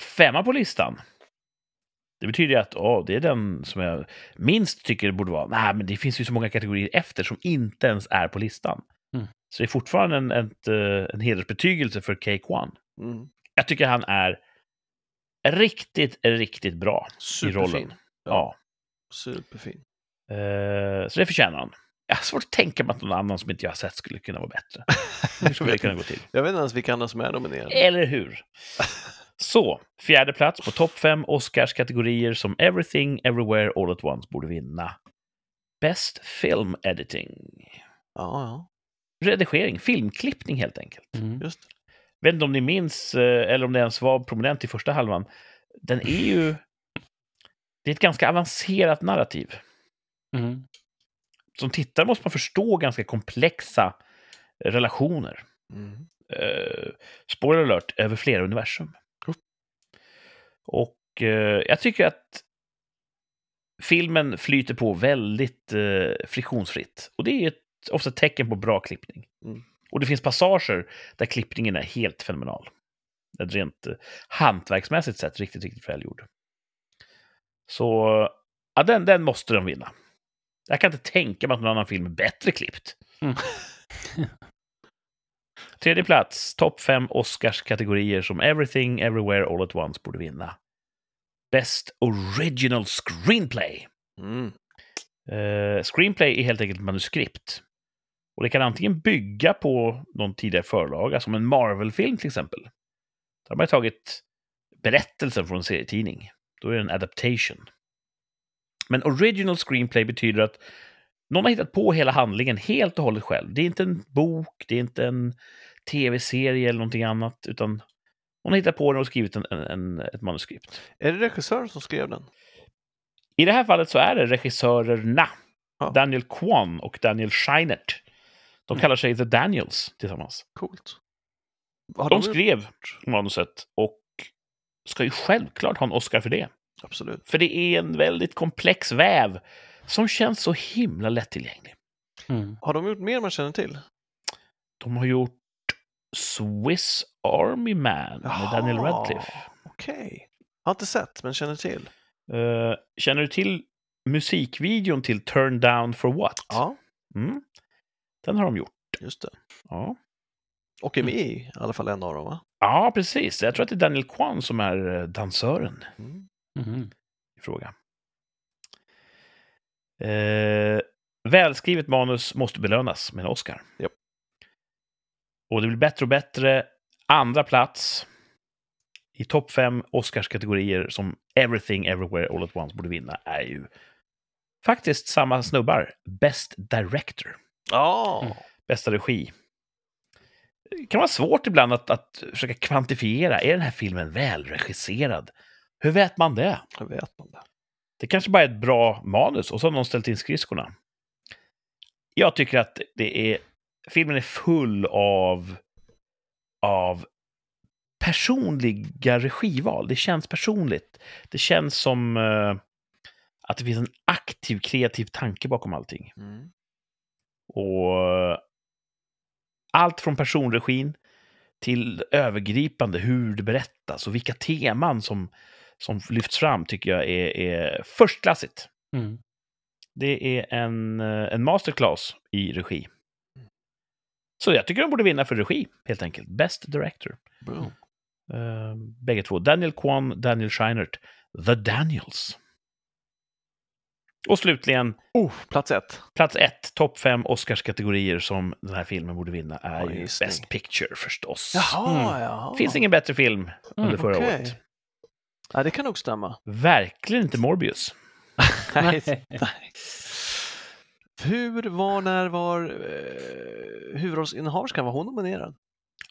A: femma på listan. Det betyder ju att åh, det är den som jag minst tycker det borde vara. Nej, men det finns ju så många kategorier efter som inte ens är på listan.
C: Mm.
A: Så det är fortfarande en, ett, eh, en hedersbetygelse för Cake One.
B: Mm.
A: Jag tycker han är riktigt, riktigt bra.
B: Superfin.
A: rollen. Ja.
B: Superfin.
A: Eh, så det förtjänar han. Jag har svårt att tänka mig att någon annan som inte jag har sett skulle kunna vara bättre. Hur skulle det kunna gå till?
B: Jag vet inte ens vilka andra som är nominerade.
C: Eh.
A: Eller hur? Så, fjärde plats på topp fem Oscars-kategorier som Everything, Everywhere, All at Once borde vinna. Best Film Editing.
B: Ja, ja.
A: Redigering, filmklippning helt enkelt.
C: Mm.
B: Just det.
A: vet inte om ni minns, eh, eller om det ens var prominent i första halvan. Den är ju... Det är ett ganska avancerat narrativ.
C: Mm.
A: Som tittare måste man förstå ganska komplexa relationer.
B: Mm.
A: eh, spoiler alert, över flera universum.
B: Cool.
A: Och eh, jag tycker att filmen flyter på väldigt eh, friktionsfritt. Och det är ett, ofta ett tecken på bra klippning.
B: Mm.
A: Och det finns passager där klippningen är helt fenomenal. Ett rent eh, hantverksmässigt sett riktigt, riktigt välgjord. Så ja, den, den måste de vinna. Jag kan inte tänka mig att någon annan film är bättre klippt. Tredje plats, topp fem Oscars-kategorier som Everything, Everywhere, All at Once borde vinna. Best Original Screenplay.
B: Mm.
A: Eh, screenplay är helt enkelt manuskript. Och det kan antingen bygga på någon tidigare förlaga, som en Marvel-film till exempel. Där har man ju tagit berättelsen från en serietidning. Då är det en adaptation. Men original screenplay betyder att någon har hittat på hela handlingen helt och hållet själv. Det är inte en bok, det är inte en tv-serie eller någonting annat, utan någon har hittat på den och skrivit en, en, en, ett manuskript.
B: Är det regissören som skrev den?
A: I det här fallet så är det regissörerna
B: Ja. Mm.
A: Daniel Kwan och Daniel Scheinert. De kallar sig The Daniels tillsammans.
B: Coolt. Har
A: De skrev manuset och ska ju självklart ha en Oscar för det.
B: Absolut.
A: För det är en väldigt komplex väv som känns så himla lättillgänglig.
C: Mm.
B: Har de gjort mer man känner till?
A: De har gjort Swiss Army Man med Daniel
B: Jaha,
A: Radcliffe.
B: Okej. Har inte sett, men känner till.
A: Eh, känner du till musikvideon till Turn Down For What?
B: Ja,
A: Mm. Den har de gjort.
B: just det.
A: Ja.
B: Och är med
A: Mm.
B: i i alla fall en av dem, va?
A: ja, precis. Jag tror att det är Daniel Kwan som är eh, dansören.
B: Mm.
C: Mhm.
A: i fråga. Eh, välskrivet manus måste belönas med en Oscar.
B: Japp.
A: Och det blir bättre och bättre. Andra plats i topp fem Oscarskategorier som Everything Everywhere All At Once borde vinna är ju faktiskt samma snubbar. Best Director,
B: Ja,
C: Mm.
A: bästa regi. Det kan vara svårt ibland att, att försöka kvantifiera. Är den här filmen välregisserad? Hur vet man det?
B: jag vet man det.
A: Det kanske bara är ett bra manus och så har någon ställt in skridskorna. Jag tycker att det är... Filmen är full av... av personliga regival. Det känns personligt. Det känns som eh, att det finns en aktiv, kreativ tanke bakom allting.
B: Mm.
A: Och eh, allt från personregin till övergripande hur det berättas och vilka teman som, som lyfts fram tycker jag är, är förstklassigt.
C: Mm.
A: Det är en, eh, en masterclass i regi. Så jag tycker de borde vinna för regi, helt enkelt. Best director.
B: Boom.
A: Uh, bägge två. Daniel Kwan, Daniel Scheinert. The Daniels. Och slutligen,
B: Oh, plats ett.
A: Plats ett, topp fem Oscarskategorier som den här filmen borde vinna är
B: Oj,
A: ju
B: gissning.
A: Best Picture förstås.
B: Jaha,
C: Mm.
B: jaha.
A: Finns ingen bättre film under
C: Mm,
A: förra
B: okej.
A: året.
B: Ja, det kan nog stämma.
A: Verkligen inte Morbius.
B: Nej.
C: Nej.
B: nej. Hur, var, när, var eh, huvudrollsinnehaverskan, var hon nominerad?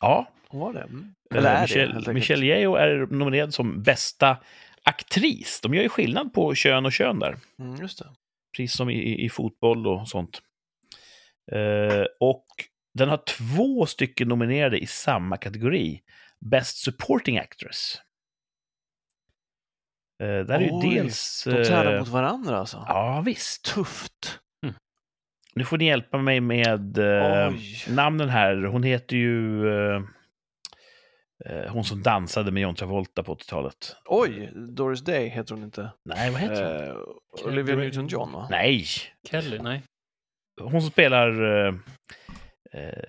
A: Ja,
B: Hon var det? Mm.
A: eh,
B: det,
A: Michelle,
B: helt enkelt?
A: Michelle Yeoh är nominerad som bästa aktris. De gör ju skillnad på kön och kön där,
B: Mm, just det.
A: Eh, precis som i- i, i fotboll och sånt. Eh, och den har två stycken nominerade i samma kategori, Best Supporting Actress. Eh, där är ju
B: Oj,
A: dels...
B: De tävlar
A: eh,
B: mot varandra alltså?
A: Ja, visst.
B: Tufft.
A: Nu får ni hjälpa mig med eh,
B: Oj.
A: namnen här. Hon heter ju... Eh, Eh, Hon som dansade med John Travolta på 80-talet.
B: Oj, Doris Day heter hon inte.
A: Nej, vad heter hon?
B: Eh, Olivia
C: Kelly.
B: Newton-John va?
A: Nej!
C: Kelly, nej.
A: Hon som spelar eh, eh,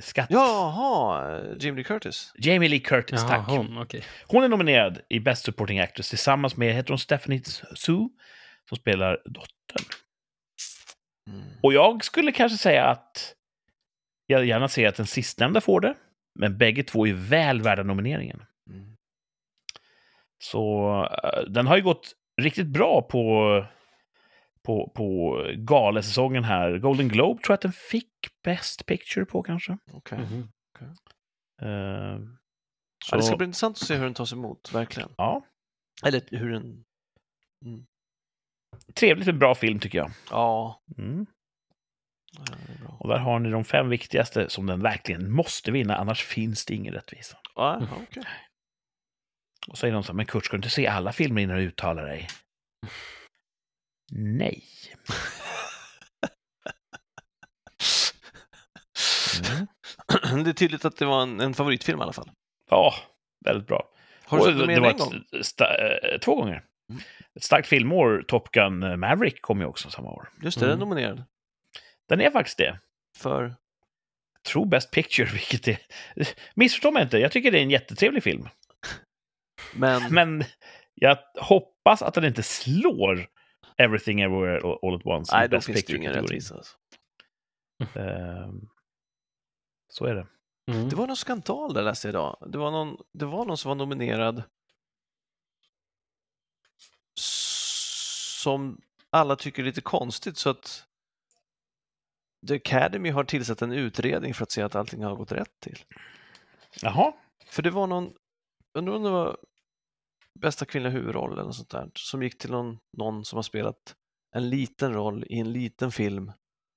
A: skatt...
B: Jaha, eh, Jim Lee Curtis.
A: Jamie Lee Curtis,
C: Jaha,
A: tack.
C: hon, okej.
A: Hon är nominerad i Best Supporting Actress tillsammans med, heter hon Stephanie Sue, som spelar dottern.
B: Mm.
A: Och jag skulle kanske säga att jag gärna ser att den sistnämnda får det, men bägge två är väl värda nomineringen.
B: Mm.
A: Så eh, den har ju gått riktigt bra på, på, på galesäsongen här. Golden Globe tror jag att den fick Best Picture på kanske.
B: Okej.
A: Eh,
B: Ja, det ska
A: så-
B: bli intressant att se hur den tas emot, verkligen.
A: ja,
B: Eller hur den...
A: trevligt en bra film tycker jag.
B: Ja,
A: Mm.
B: ja, det är bra.
A: Och där har ni de fem viktigaste som den verkligen måste vinna, annars finns det ingen rättvisa.
B: Ja,
C: Mm.
B: okej.
A: Och säger någon så här, men Kurt, ska du inte se alla filmer innan du uttalar dig? Nej. Mm.
B: Det är tydligt att det var en, en favoritfilm i alla fall.
A: Ja, väldigt bra.
B: Har du
A: Och
B: sett den
A: det-
B: mer
A: det
B: än
A: var
B: en gång?
A: ett sta- eh, Två gånger.
B: Mm.
A: Ett starkt filmår, Top Gun eh, Maverick kom ju också samma år.
B: Just det, den är
C: Mm.
B: nominerad
A: Den är faktiskt det.
B: för...
A: Jag tror Best Picture, vilket är... Missförstå mig inte, jag tycker det är en jättetrevlig film.
B: Men,
A: Men jag hoppas att den inte slår Everything Everywhere All- All At Once. i
B: nej, då
A: Best
B: finns det ju ingen
A: Picture-kategorin.
B: rättvisa. Alltså.
A: Ehm, Så är det.
C: Mm.
B: Det var någon skandal där läste jag idag. Det var någon, det var någon som var nominerad s- som alla tycker är lite konstigt så att The Academy har tillsatt en utredning för att se att allting har gått rätt till.
A: Jaha.
B: För det var någon, undrar om det var bästa kvinnliga huvudroll eller något sånt där, som gick till någon, någon som har spelat en liten roll i en liten film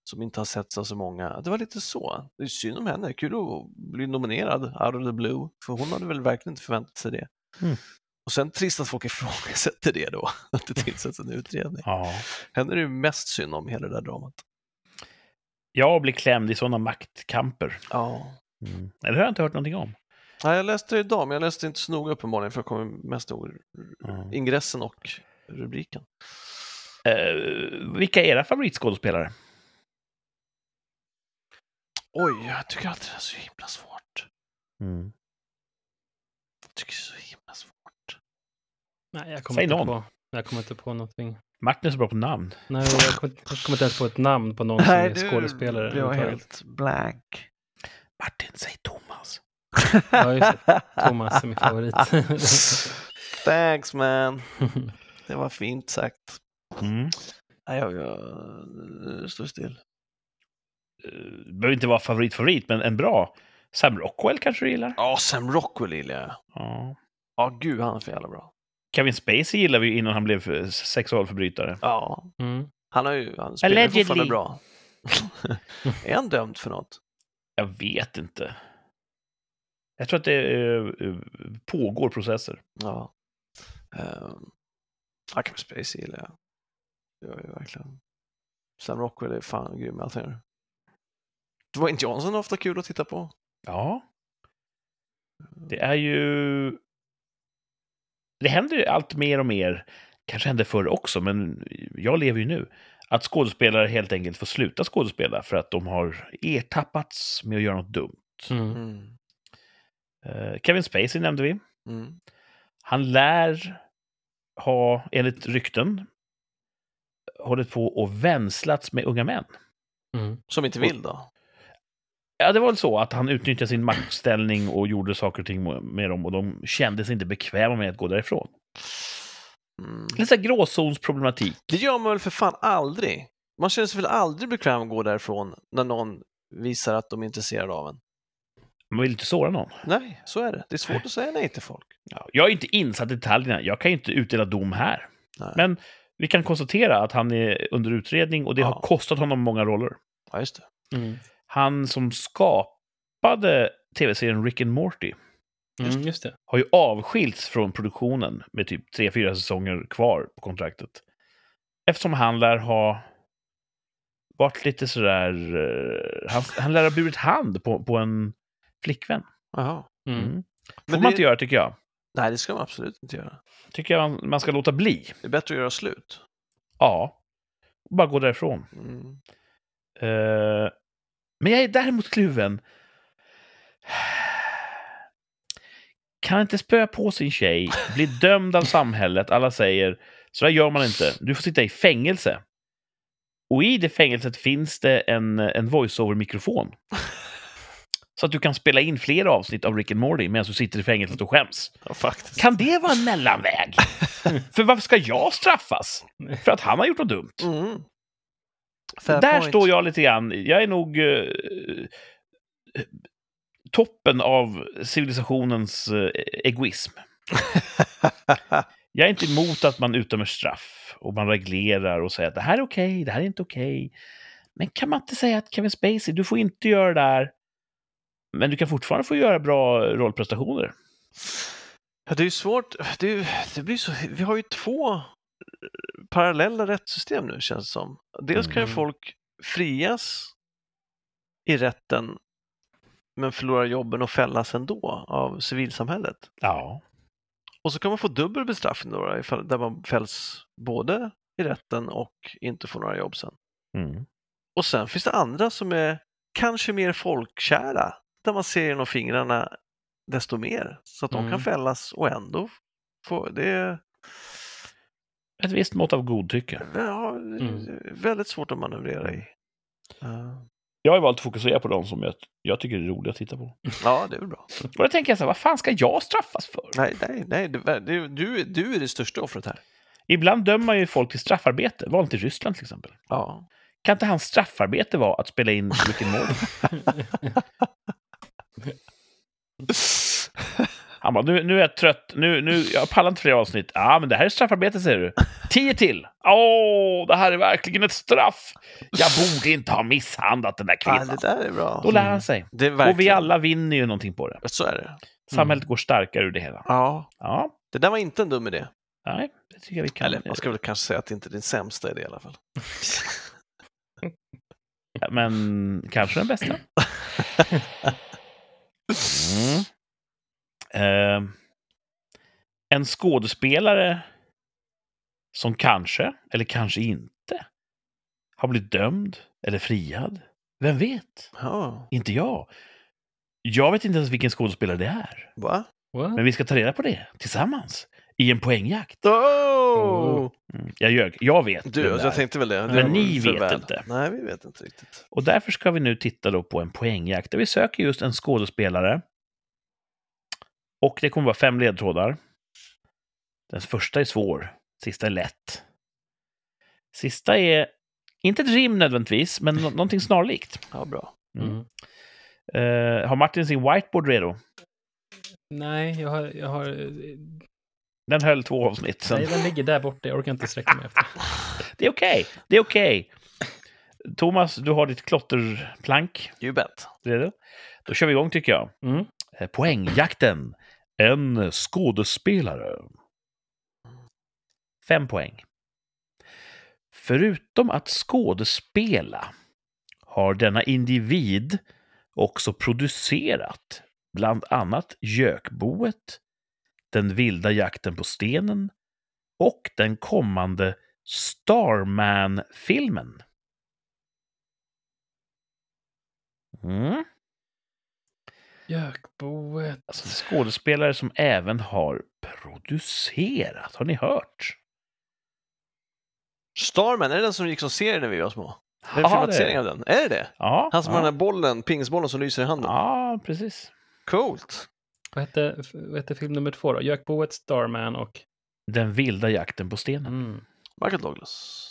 B: som inte har setts av så många. Det var lite så. Det är synd om henne. Kul att bli nominerad out of the blue, för hon hade väl verkligen inte förväntat sig det.
A: Mm.
B: Och sen trist att folk ifrågasätter det då, att det tillsätts en utredning.
A: Ja.
B: Henne är det ju mest synd om, hela det där dramat.
A: Jag blir klämd i sådana maktkamper.
B: Ja.
A: Mm. Det har jag inte hört någonting om.
B: Nej, jag läste det idag, men jag läste inte så noga uppenbarligen, för jag kommer mest ihåg
A: Ja.
B: ingressen och rubriken.
A: Eh, vilka är era favoritskådespelare?
B: Oj, jag tycker alltid det är så himla svårt. Jag tycker det är så himla svårt.
C: Nej, jag kommer
A: Säg
C: inte
A: någon.
C: på. Jag kommer inte på någonting.
A: Martin är så bra på namn.
C: Nej, jag kommer jag kommer inte ens på ett namn på någon som är skådespelare.
B: blev jag
C: överhuvudtaget.
B: helt blank.
A: Martin, säg Thomas.
C: Ja, just Thomas är min favorit.
B: Thanks man, det var fint sagt.
A: Mm.
B: Nej, jag, jag står still.
A: Eh, behöver inte vara favorit-favorit, men en bra. Sam Rockwell kanske du gillar?
B: Ja, Sam Rockwell gillar jag.
A: Ja.
B: Ja, gud, han är för jävla bra.
A: Kevin Spacey gillar vi ju innan han blev eh, sexualförbrytare.
B: Ja,
C: Mm.
B: han har ju, han spelar ju
A: Allegedly.
B: fortfarande bra. är han dömd för något?
A: Jag vet inte. Jag tror att det eh, eh, pågår processer.
B: Ja. Um, ja, Kevin Spacey gillar jag. Det gör jag ju verkligen. Sam Rockwell är fan grym i allt han gör. Dwayne Johnson är ofta kul att titta på.
A: Ja. Det är ju... Det händer ju allt mer och mer, kanske hände förr också, men jag lever ju nu, att skådespelare helt enkelt får sluta skådespela för att de har ertappats med att göra något dumt.
C: Mm.
B: Mm.
A: Eh, Kevin Spacey nämnde vi.
B: Mm.
A: Han lär ha, enligt rykten, hållit på och vänslats med unga män.
C: Mm.
B: Som inte vill då.
A: Ja, det var väl så att han utnyttjade sin maktställning och gjorde saker och ting med dem och de kände sig inte bekväma med att gå därifrån.
B: Mm.
A: Lite så här gråzonsproblematik.
B: Det gör man väl för fan aldrig? Man känner sig väl aldrig bekväm att gå därifrån när någon visar att de är intresserade av en.
A: Man vill inte såra någon.
B: Nej, så är det. Det är svårt att säga nej till folk.
A: Ja, jag är inte insatt i detaljerna. Jag kan ju inte utdela dom här.
B: Nej.
A: Men vi kan konstatera att han är under utredning och det har
B: Ja.
A: kostat honom många roller.
B: Ja, just det.
C: Mm.
A: Han som skapade tv-serien Rick and Morty
C: Mm. Just det.
A: har ju avskilts från produktionen med typ tre, fyra säsonger kvar på kontraktet. Eftersom han lär ha varit lite sådär... eh, Han, han lär ha burit hand på, på en flickvän.
B: Jaha.
C: Mm.
A: Mm. får
B: Men
A: man
B: det-
A: inte göra tycker jag.
B: Nej, det ska man absolut inte göra.
A: Tycker jag man, man ska låta bli.
B: Det är bättre att göra slut.
A: Ja. Bara gå därifrån.
B: Mm.
A: Eh, men jag är däremot kluven. Kan inte spöa på sin tjej, bli dömd av samhället, alla säger så där gör man inte, du får sitta i fängelse. Och i det fängelset finns det en, en voiceover-mikrofon. Så att du kan spela in flera avsnitt av Rick and Morty medan du sitter i fängelset och skäms.
B: Ja, faktiskt.
A: Kan det vara en mellanväg? För varför ska jag straffas? För att han har gjort något dumt?
B: Mm. Fair
A: Där
B: point.
A: står jag lite grann. Jag är nog eh, eh, toppen av civilisationens eh, egoism. Jag är inte emot att man utdömer straff och man reglerar och säger att det här är okej, det här är inte okej. Men kan man inte säga att Kevin Spacey, du får inte göra det där, men du kan fortfarande få göra bra rollprestationer.
B: Ja, det är ju svårt. Det, är, ju- det blir så... Vi har ju två eh, parallella rättssystem nu känns det som. Dels kan ju
C: Mm.
B: folk frias i rätten men förlora jobben och fällas ändå av civilsamhället.
A: Ja.
B: Och så kan man få dubbel bestraffning då, ifall, där man fälls både i rätten och inte får några jobb sen.
A: Mm.
B: Och sen finns det andra som är kanske mer folkkära, där man ser genom fingrarna desto mer, så att de
C: Mm.
B: kan fällas och ändå få... Det är
A: Ett visst mått av godtycke.
B: ja, väldigt svårt att manövrera i. Eh. Ja.
A: Jag har ju valt att fokusera på de som jag, jag tycker är roliga att titta
B: Mm.
A: på.
B: Ja, det är väl bra.
A: Och då tänker jag så här, vad fan ska jag straffas för?
B: Nej, nej, nej, det, det, du, du är det största offret här.
A: Ibland dömer man ju folk till straffarbete. Var inte i Ryssland till exempel.
B: Ja.
A: Kan inte hans straffarbete vara att spela in Rick and Morty? Han bara, nu, nu är jag trött. Nu, nu, jag pallar inte fler avsnitt. Ja, ah, men det här är straffarbete, säger du. Tio till! Åh, det här är verkligen ett straff! Jag borde inte ha misshandlat den där
B: ja,
A: kvinnan.
B: det där är bra.
A: Då lär han sig.
B: Det är
A: Och vi
B: verkligen- Mm.
A: alla vinner ju någonting på det.
B: Så är det.
A: Samhället går starkare ur det hela.
B: Ja,
A: Ja,
B: det där var inte en dum idé.
A: nej, det tycker jag vi kan.
B: Eller man ska väl kanske säga att det inte är din sämsta idé i alla fall.
A: Men kanske den bästa. Mm. Eh, en skådespelare som kanske, eller kanske inte, har blivit dömd eller friad. Vem vet?
B: Ja,
A: Inte jag. Jag vet inte ens vilken skådespelare det är.
B: va?
C: What?
A: Men vi ska ta reda på det tillsammans i en poängjakt.
B: Oh!
A: Mm. Jag ljög. Jag vet.
B: Du,
A: vem det
B: alltså, jag
A: är.
B: tänkte väl det. det
A: Men
B: var
A: ni
B: för
A: vet inte.
B: Nej, vi vet inte riktigt.
A: Och därför ska vi nu titta då på en poängjakt där vi söker just en skådespelare. Och det kommer vara fem ledtrådar. Den första är svår, sista är lätt. Sista är inte ett rim nödvändigtvis, men nå- någonting snarlikt.
B: Ja, bra.
C: Mm.
A: Eh, har Martin sin whiteboard redo?
C: Nej, jag har... Jag har
A: Den höll två avsnitt. Sen.
C: nej, den ligger där borta. Jag orkar inte sträcka mig efter.
A: Det är okej, det är okej. Thomas, du har ditt klotterplank
B: You bet.
A: redo. Då kör vi igång tycker jag.
C: Mm.
A: Eh, Poängjakten. En skådespelare. Fem poäng. Förutom att skådespela har denna individ också producerat bland annat Gökboet, Den vilda jakten på stenen och den kommande Starman-filmen. Mm.
C: Jökboet.
A: Alltså skådespelare som även har producerat. Har ni hört?
B: Starman, är det den som gick som serie när vi var små? Är
A: Ja,
B: det en filmatisering
A: det-
B: av den? Är det det?
A: Ja,
B: Han som
A: ja.
B: har den här bollen, pingisbollen som lyser i handen?
A: Ja, precis.
B: Coolt!
C: Vad hette, vad hette film nummer två då? Jökboet, Starman och...
A: Den vilda jakten på stenen.
C: Mm.
B: Michael Douglas.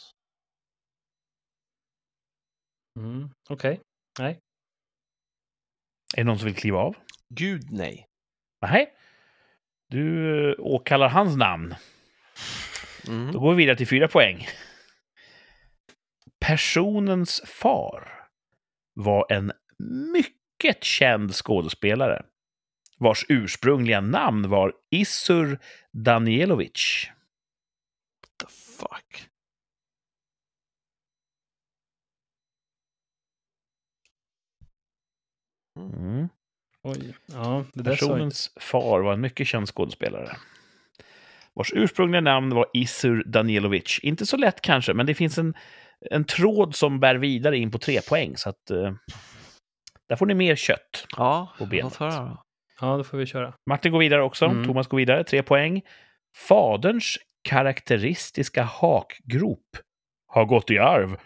C: Mm. Okej.
A: Är det någon som vill kliva av?
B: Gud nej.
A: Nej. Du eh, åkallar hans namn. Då
B: Mm.
A: går vi vidare till fyra poäng. Personens far var en mycket känd skådespelare vars ursprungliga namn var Isur Danielovic.
B: The fuck.
A: Mm.
C: Oj. Ja, det där sa jag inte.
A: Personens far var en mycket känd skådespelare. Vars ursprungliga namn var Isur Danielovic. Inte så lätt kanske, men det finns en, en tråd som bär vidare in på tre poäng. Så att, eh, där får ni mer kött.
B: Ja,
A: På benet.
B: låt höra.
C: Ja, då får vi köra.
A: Martin går vidare också.
C: Mm.
A: Thomas går vidare, tre poäng. Faderns karaktäristiska hakgrop har gått i arv.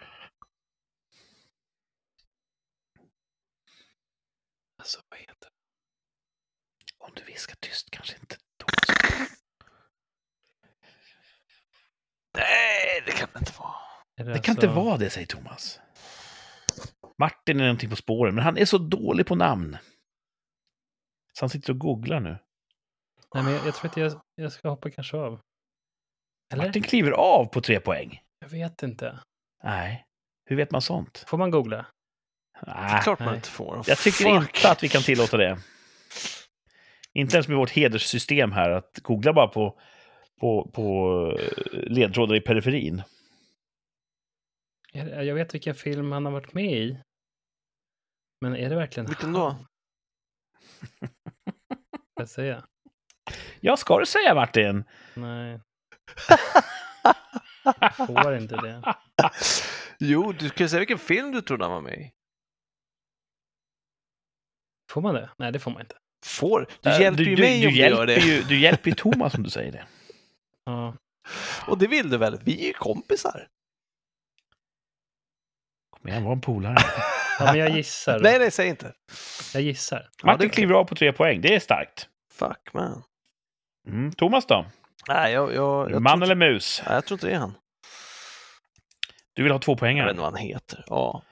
C: Alltså, vad heter
A: Om du viskar tyst kanske inte Thomas.
B: Nej, det kan det inte vara.
C: det? alltså-
A: Det
C: Är
A: kan inte
B: Alltså.
A: vara det, säger Thomas. Martin är någonting på spåren, men han är så dålig på namn. Så han sitter och googlar nu.
C: Nej, men jag, jag tror att jag, jag ska hoppa kanske av. Eller?
A: Martin kliver av på tre poäng.
C: Jag vet inte.
A: Nej, hur vet man sånt?
C: Får man googla?
B: Det är
A: Nej,
B: klart man
C: nej.
B: inte får.
A: jag tycker
B: Fuck.
A: inte att vi kan tillåta det. Inte ens med vårt hederssystem här, att googla bara på, på, på eh, ledtrådar i periferin.
C: Jag, jag vet vilken film han har varit med i. Men är det verkligen
B: Vilken då?
C: Ska jag säga?
A: Ja, ska du säga Martin?
C: Nej. Jag får inte det.
B: Jo, du kan ju säga vilken film du trodde han var med i.
C: Får man det? Nej, det får man inte.
B: Får? Du
A: Eh,
B: hjälper ju mig
A: du,
B: om du
A: hjälper
B: gör det.
A: Ju, du hjälper ju Thomas om du säger det.
C: Ja.
B: Och det vill du väl? Vi är ju kompisar.
A: Kom igen, var en polare.
C: ja, men jag gissar.
B: Nej, nej, säg inte.
C: Jag gissar.
B: Ja,
A: Martin
B: det är
A: kliver av på tre poäng, det är starkt.
B: Fuck man.
A: Mm, Thomas då?
B: Nej, jag, jag, jag,
A: Man
B: tror,
A: eller mus?
B: nej, jag tror inte det är han.
A: Du vill ha två
B: Jag vet
A: poängare.
B: inte vad han heter. Ja.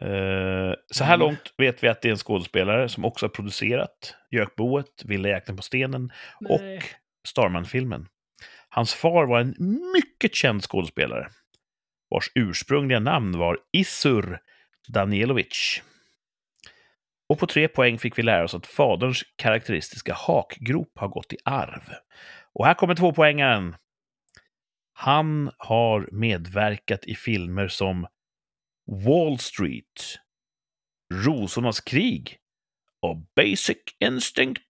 A: Eh, så här
C: Mm.
A: långt vet vi att det är en skådespelare som också har producerat Jökboet, Vilda jäkeln på stenen, Och-
C: Nej.
A: Starman-filmen. Hans far var en mycket känd skådespelare vars ursprungliga namn var Isur Danielovic. Och på tre poäng fick vi lära oss att faderns karaktäristiska hakgrop har gått i arv. Och här kommer två poängaren. Han har medverkat i filmer som Wall Street, Rosornas krig och Basic Instinct.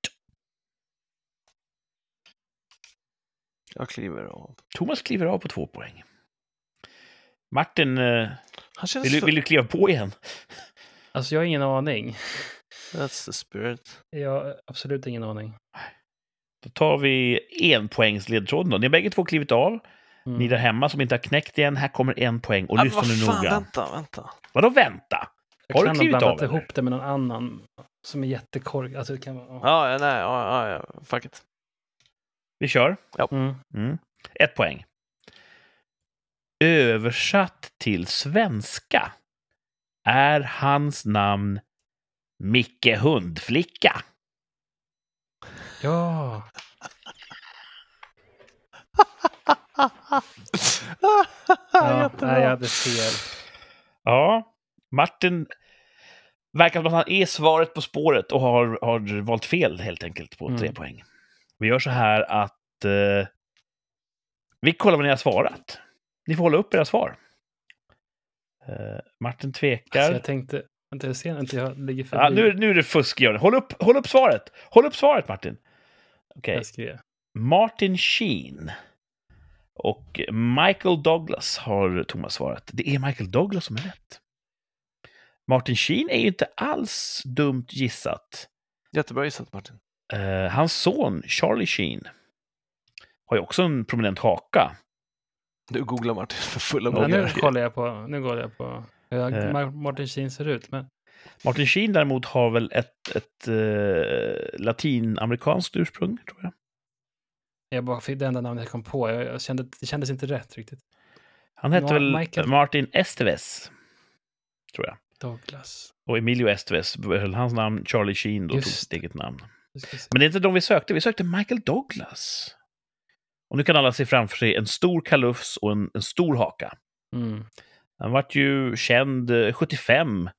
B: Jag kliver av.
A: Thomas kliver av på två poäng. Martin, eh,
B: Han känns...
A: vill du,
B: för-
A: vill du kliva på igen?
C: Alltså, jag har ingen aning.
B: That's the spirit.
C: Jag har absolut ingen aning.
A: Då tar vi enpoängsledtråden då. Ni har bägge två klivit av.
C: Mm.
A: Ni där hemma som inte har knäckt igen, här kommer en poäng. Och
B: Ah,
A: lyssna
B: vad
A: nu
B: fan,
A: noga.
B: Vänta, vänta.
A: Vadå vänta?
C: Jag
A: Har du
C: kan ha
A: klivit
C: blandat
A: av, eller?
C: ihop det med någon annan som är jättekorkad. Alltså, det kan vara... ja.
B: Ja, ja, nej, ja, ja, ja, fuck it.
A: Vi kör.
C: Mm.
A: Mm. Ett poäng. Översatt till svenska är hans namn Micke Hundflicka.
C: ja. Ja,
B: Jättebra.
C: nej, jag hade fel. Alltså,
A: Ja, Martin verkar som att han är svaret på spåret och har, har valt fel helt enkelt på
C: Mm.
A: tre poäng. Vi gör så här att eh, vi kollar vad ni har svarat. Ni får hålla upp era svar. Eh, Martin
C: Så
A: tvekar.
C: Alltså, jag tänkte, vänta jag ser inte, jag ligger förbi.
A: ja, nu, nu är det fusk, Göran. Håll upp, håll upp svaret! Håll upp svaret, Martin! Okej.
C: jag skrev.
A: Martin Sheen och Michael Douglas har Thomas svarat. Det är Michael Douglas som är rätt. Martin Sheen är ju inte alls dumt gissat.
B: Jättebra gissat Martin.
A: Eh, hans son Charlie Sheen har ju också en prominent haka.
B: Du googlar Martin för fulla
A: Ja,
C: Ja,
B: bågar.
C: nu kollar jag på, nu kollar jag på hur
A: Eh.
C: Mar- Martin Sheen ser ut. Men
A: Martin Sheen däremot har väl ett, ett eh, latinamerikanskt ursprung, tror jag.
C: jag bara fick det enda namnet jag kom på. Jag, jag kände, det kändes inte rätt riktigt.
A: Han hette
C: Ma-
A: väl
C: Michael-
A: Martin Esteves, tror jag.
C: Douglas.
A: Och Emilio Esteves behöll hans namn, Charlie Sheen då tog
C: Just
A: sitt eget namn.
C: Nu ska vi se.
A: Men det är inte de vi sökte, vi sökte Michael Douglas. Och nu kan alla se framför sig en stor kalufs och en, en stor haka.
C: Mm.
A: Han vart ju känd eh, 75,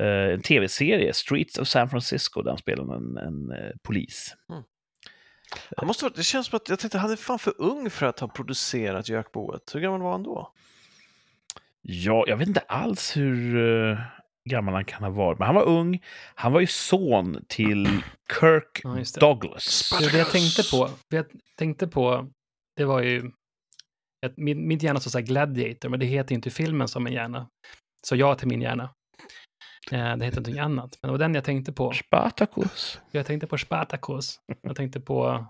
A: eh, en tv-serie, Streets of San Francisco, där han spelade en, en eh, polis.
B: Han måste vara, det känns som att jag tänkte han är fan för ung för att ha producerat Jökboet. Hur gammal var han då?
A: Ja, jag vet inte alls hur eh, gammal han kan ha varit. Men han var ung. Han var ju son till Kirk
C: Ja, just det.
A: Douglas.
C: Det, det jag tänkte på, det jag tänkte på, det var ju att min, min hjärna står så här Gladiator, men det heter ju inte i filmen som en hjärna. Så jag till min hjärna. Eh, Det heter någonting annat, men det var den jag tänkte på.
A: Spartacus.
C: Jag tänkte på Spartacus. Jag tänkte på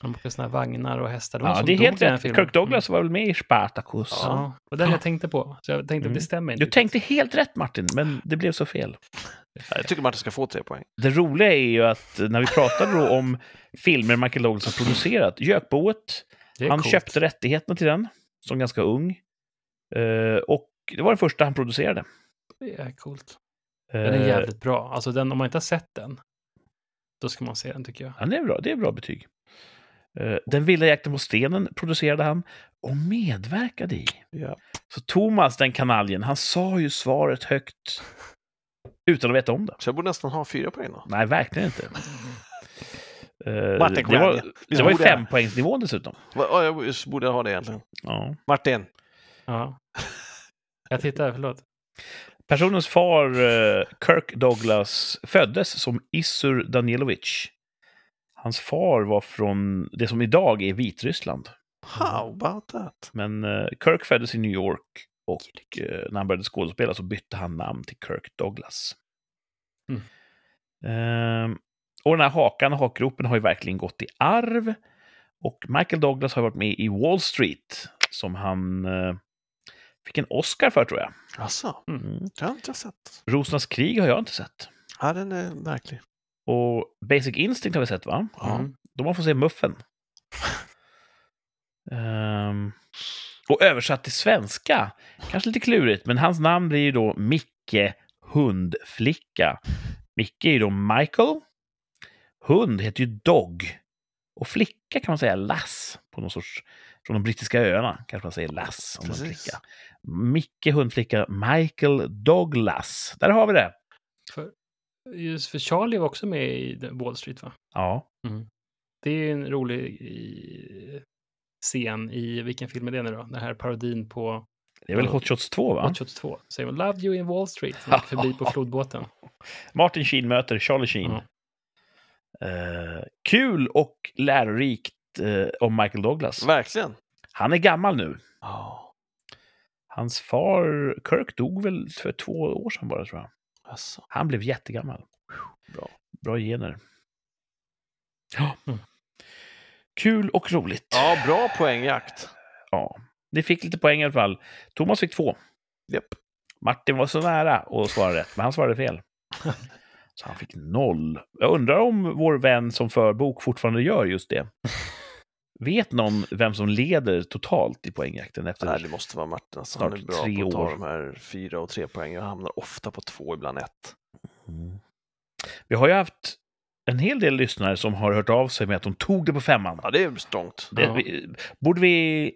C: de åkte såna här vagnar och hästar. De
A: Ja,
C: som
A: det är
C: dog i
A: helt
C: den här
A: rätt.
C: filmen.
A: Kirk Douglas var väl med i Spartacus.
C: Mm. Ja, det var den jag tänkte på. Så jag tänkte,
A: Mm.
C: det stämmer inte.
A: Du tänkte helt rätt Martin, men det blev så fel.
B: Jag tycker Martin ska få tre poäng.
A: Det roliga är ju att när vi pratade då om filmer Michael Douglas har producerat, Gökboet,
C: Det är
A: han
C: coolt.
A: köpte rättigheterna till den som ganska ung. Eh, och det var den första han producerade.
C: Det är coolt.
A: Eh,
C: Den är jävligt bra. Alltså den, om man inte har sett den, då ska man se den tycker jag.
A: ja, det, är bra, det är bra betyg. Eh, den vilda jakten på stenen producerade han och medverkade i.
B: Ja.
A: Så Thomas, den kanaljen, han sa ju svaret högt utan att veta om det.
B: Så jag borde nästan ha fyra poäng då.
A: Nej, verkligen inte. Eh,
B: Martin, kom
A: det,
B: igen.
A: var, det var ju
B: Liksom borde jag-
A: fempoängsnivån dessutom.
B: Va- Ja, jag borde- borde ha det egentligen.
A: Ja.
B: Martin.
C: Ja. Jag tittar, förlåt.
A: Personens far, eh, Kirk Douglas, föddes som Isur Danilovic. Hans far var från det som idag är Vitryssland.
B: How about that?
A: Men eh, Kirk föddes i New York och eh, när han började skådespela så bytte han namn till Kirk Douglas.
C: Mm.
A: Ehm, och den här hakan och hakgropen har ju verkligen gått i arv. Och Michael Douglas har varit med i Wall Street som han eh, fick en Oscar för tror jag.
B: Jaså,
A: Mm.
B: det har inte jag sett.
A: Rosornas krig har jag inte sett.
B: Ja, den är märklig.
A: Och Basic Instinct har vi sett va?
B: Ja.
C: Mm.
A: Då man får se Muffen. Ehm, och översatt till svenska, kanske lite klurigt, men hans namn blir ju då Micke Hundflicka. Micke är ju då Michael. Hund heter ju Dog. Och flicka kan man säga Lass, på någon sorts, från de brittiska öarna kanske man säger Lass om man
B: Precis.
A: flicka. Micke Hundflicka, Michael Douglas. Där har vi det!
C: Just för Charlie var också med i The Wall Street, va?
A: Ja,
C: Det är ju en rolig i- scen i, vilken film är det nu då? Den här parodin på
A: det är väl Hot Shots 2 va?
C: Hot Shots 2. Säger man Love You in Wall Street, när man åker förbi på flodbåten.
A: Martin Sheen möter Charlie Sheen.
C: Ja.
A: Eh, kul och lärorikt eh, om Michael Douglas.
B: Verkligen.
A: Han är gammal nu.
B: Ja,
A: Hans far Kirk dog väl för två år sedan bara tror jag.
B: jaså.
A: Han blev jättegammal.
B: Bra.
A: Bra gener. Ja.
C: Mm.
A: Kul och roligt.
B: Ja, bra poängjakt.
A: Ja. Ni fick lite poäng i alla fall. Thomas fick två.
B: Japp.
A: Martin var så nära att svara rätt, men han svarade fel. Så han fick noll. Jag undrar om vår vän som för bok fortfarande gör just det. Vet någon vem som leder totalt i poängjakten
B: Nej,
A: efter
B: det måste vara Martin. Alltså,
A: Snart
B: han är bra
A: tre
B: på att
A: år.
B: ta de här fyra och tre poäng. Jag hamnar ofta på två, ibland ett.
A: Mm. Vi har ju haft en hel del lyssnare som har hört av sig med att de tog det på femman.
B: Ja, det är strångt.
A: Det,
C: Ja.
A: vi, borde vi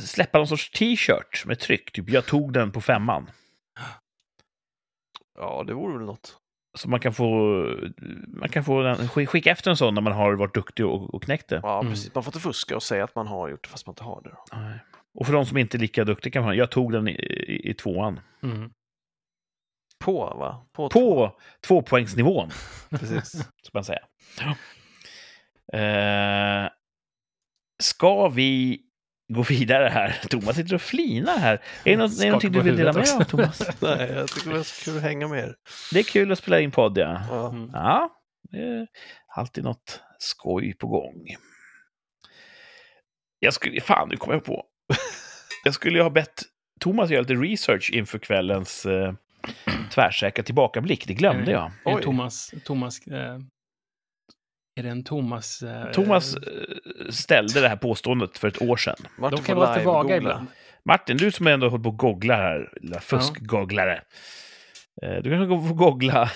A: släppa någon sorts t-shirt med tryck? Typ, jag tog den på femman.
B: Ja, det vore väl något.
A: Så man kan få, man kan få den, skicka efter en sån när man har varit duktig och, och knäckt det.
B: Ja,
C: Mm.
B: precis. Man får inte fuska och säga att man har gjort det fast man inte har det. då.
A: Nej. Och för de som inte är lika duktiga kan man jag tog den i, i, i tvåan.
C: Mm.
B: På, va? På, två.
A: På tvåpoängsnivån,
B: Precis.
A: ska man säga. Eh, ska vi gå vidare här? Thomas sitter och flinar här. Är det något, är det
C: Skakar
A: någonting du
C: på
A: vill dela med
C: huvudet
A: dig av,
C: också.
A: Thomas?
B: Nej, jag tycker det var så kul att hänga med er.
A: Det är kul att spela in podd, ja.
B: Ja.
C: Mm.
A: Ja, det är alltid något skoj på gång. Jag skulle, fan, nu kommer jag på. Jag skulle ju ha bett Thomas göra lite research inför kvällens eh, tvärsäkra tillbakablick. Det glömde jag.
C: Är
B: Oj.
C: det Thomas, Thomas, eh, är det en Thomas? Eh,
A: Thomas eh, ställde det här påståendet för ett år sedan.
B: Martin
C: De kan
B: får
C: vara lite
B: live-googla.
C: vaga ibland.
A: Martin, du som ändå håller på och googlar här, lilla fuskgogglare. Eh, Du kanske går- får googla.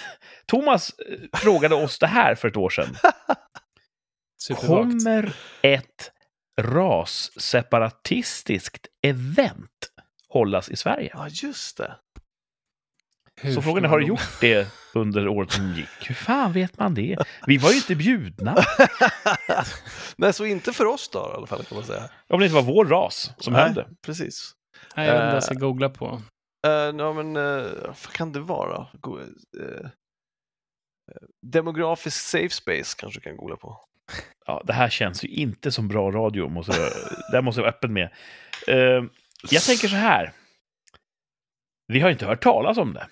A: Thomas eh, frågade oss det här för ett år sedan.
C: Supervagt.
A: Kommer typ ett rasseparatistiskt event hållas i Sverige?
B: Ja, just det.
C: Hur
A: Så frågan är,
C: stora
A: har du
C: de-
A: gjort det under året som gick? Hur fan vet man det? Vi var ju inte bjudna.
B: Nej, så inte för oss då i alla fall kan man säga.
A: Om det inte var vår ras som
B: Nej,
A: höll det.
B: Precis.
A: eh,
C: Nej, jag vet inte vad jag ska googla på.
B: Eh, ja, men, eh, vad kan det vara? Go- eh, demografisk safe space kanske du kan googla på.
A: Ja, det här känns ju inte som bra radio, måste jag, det här måste jag vara öppen med. Eh, jag tänker så här. Vi har inte hört talas om det.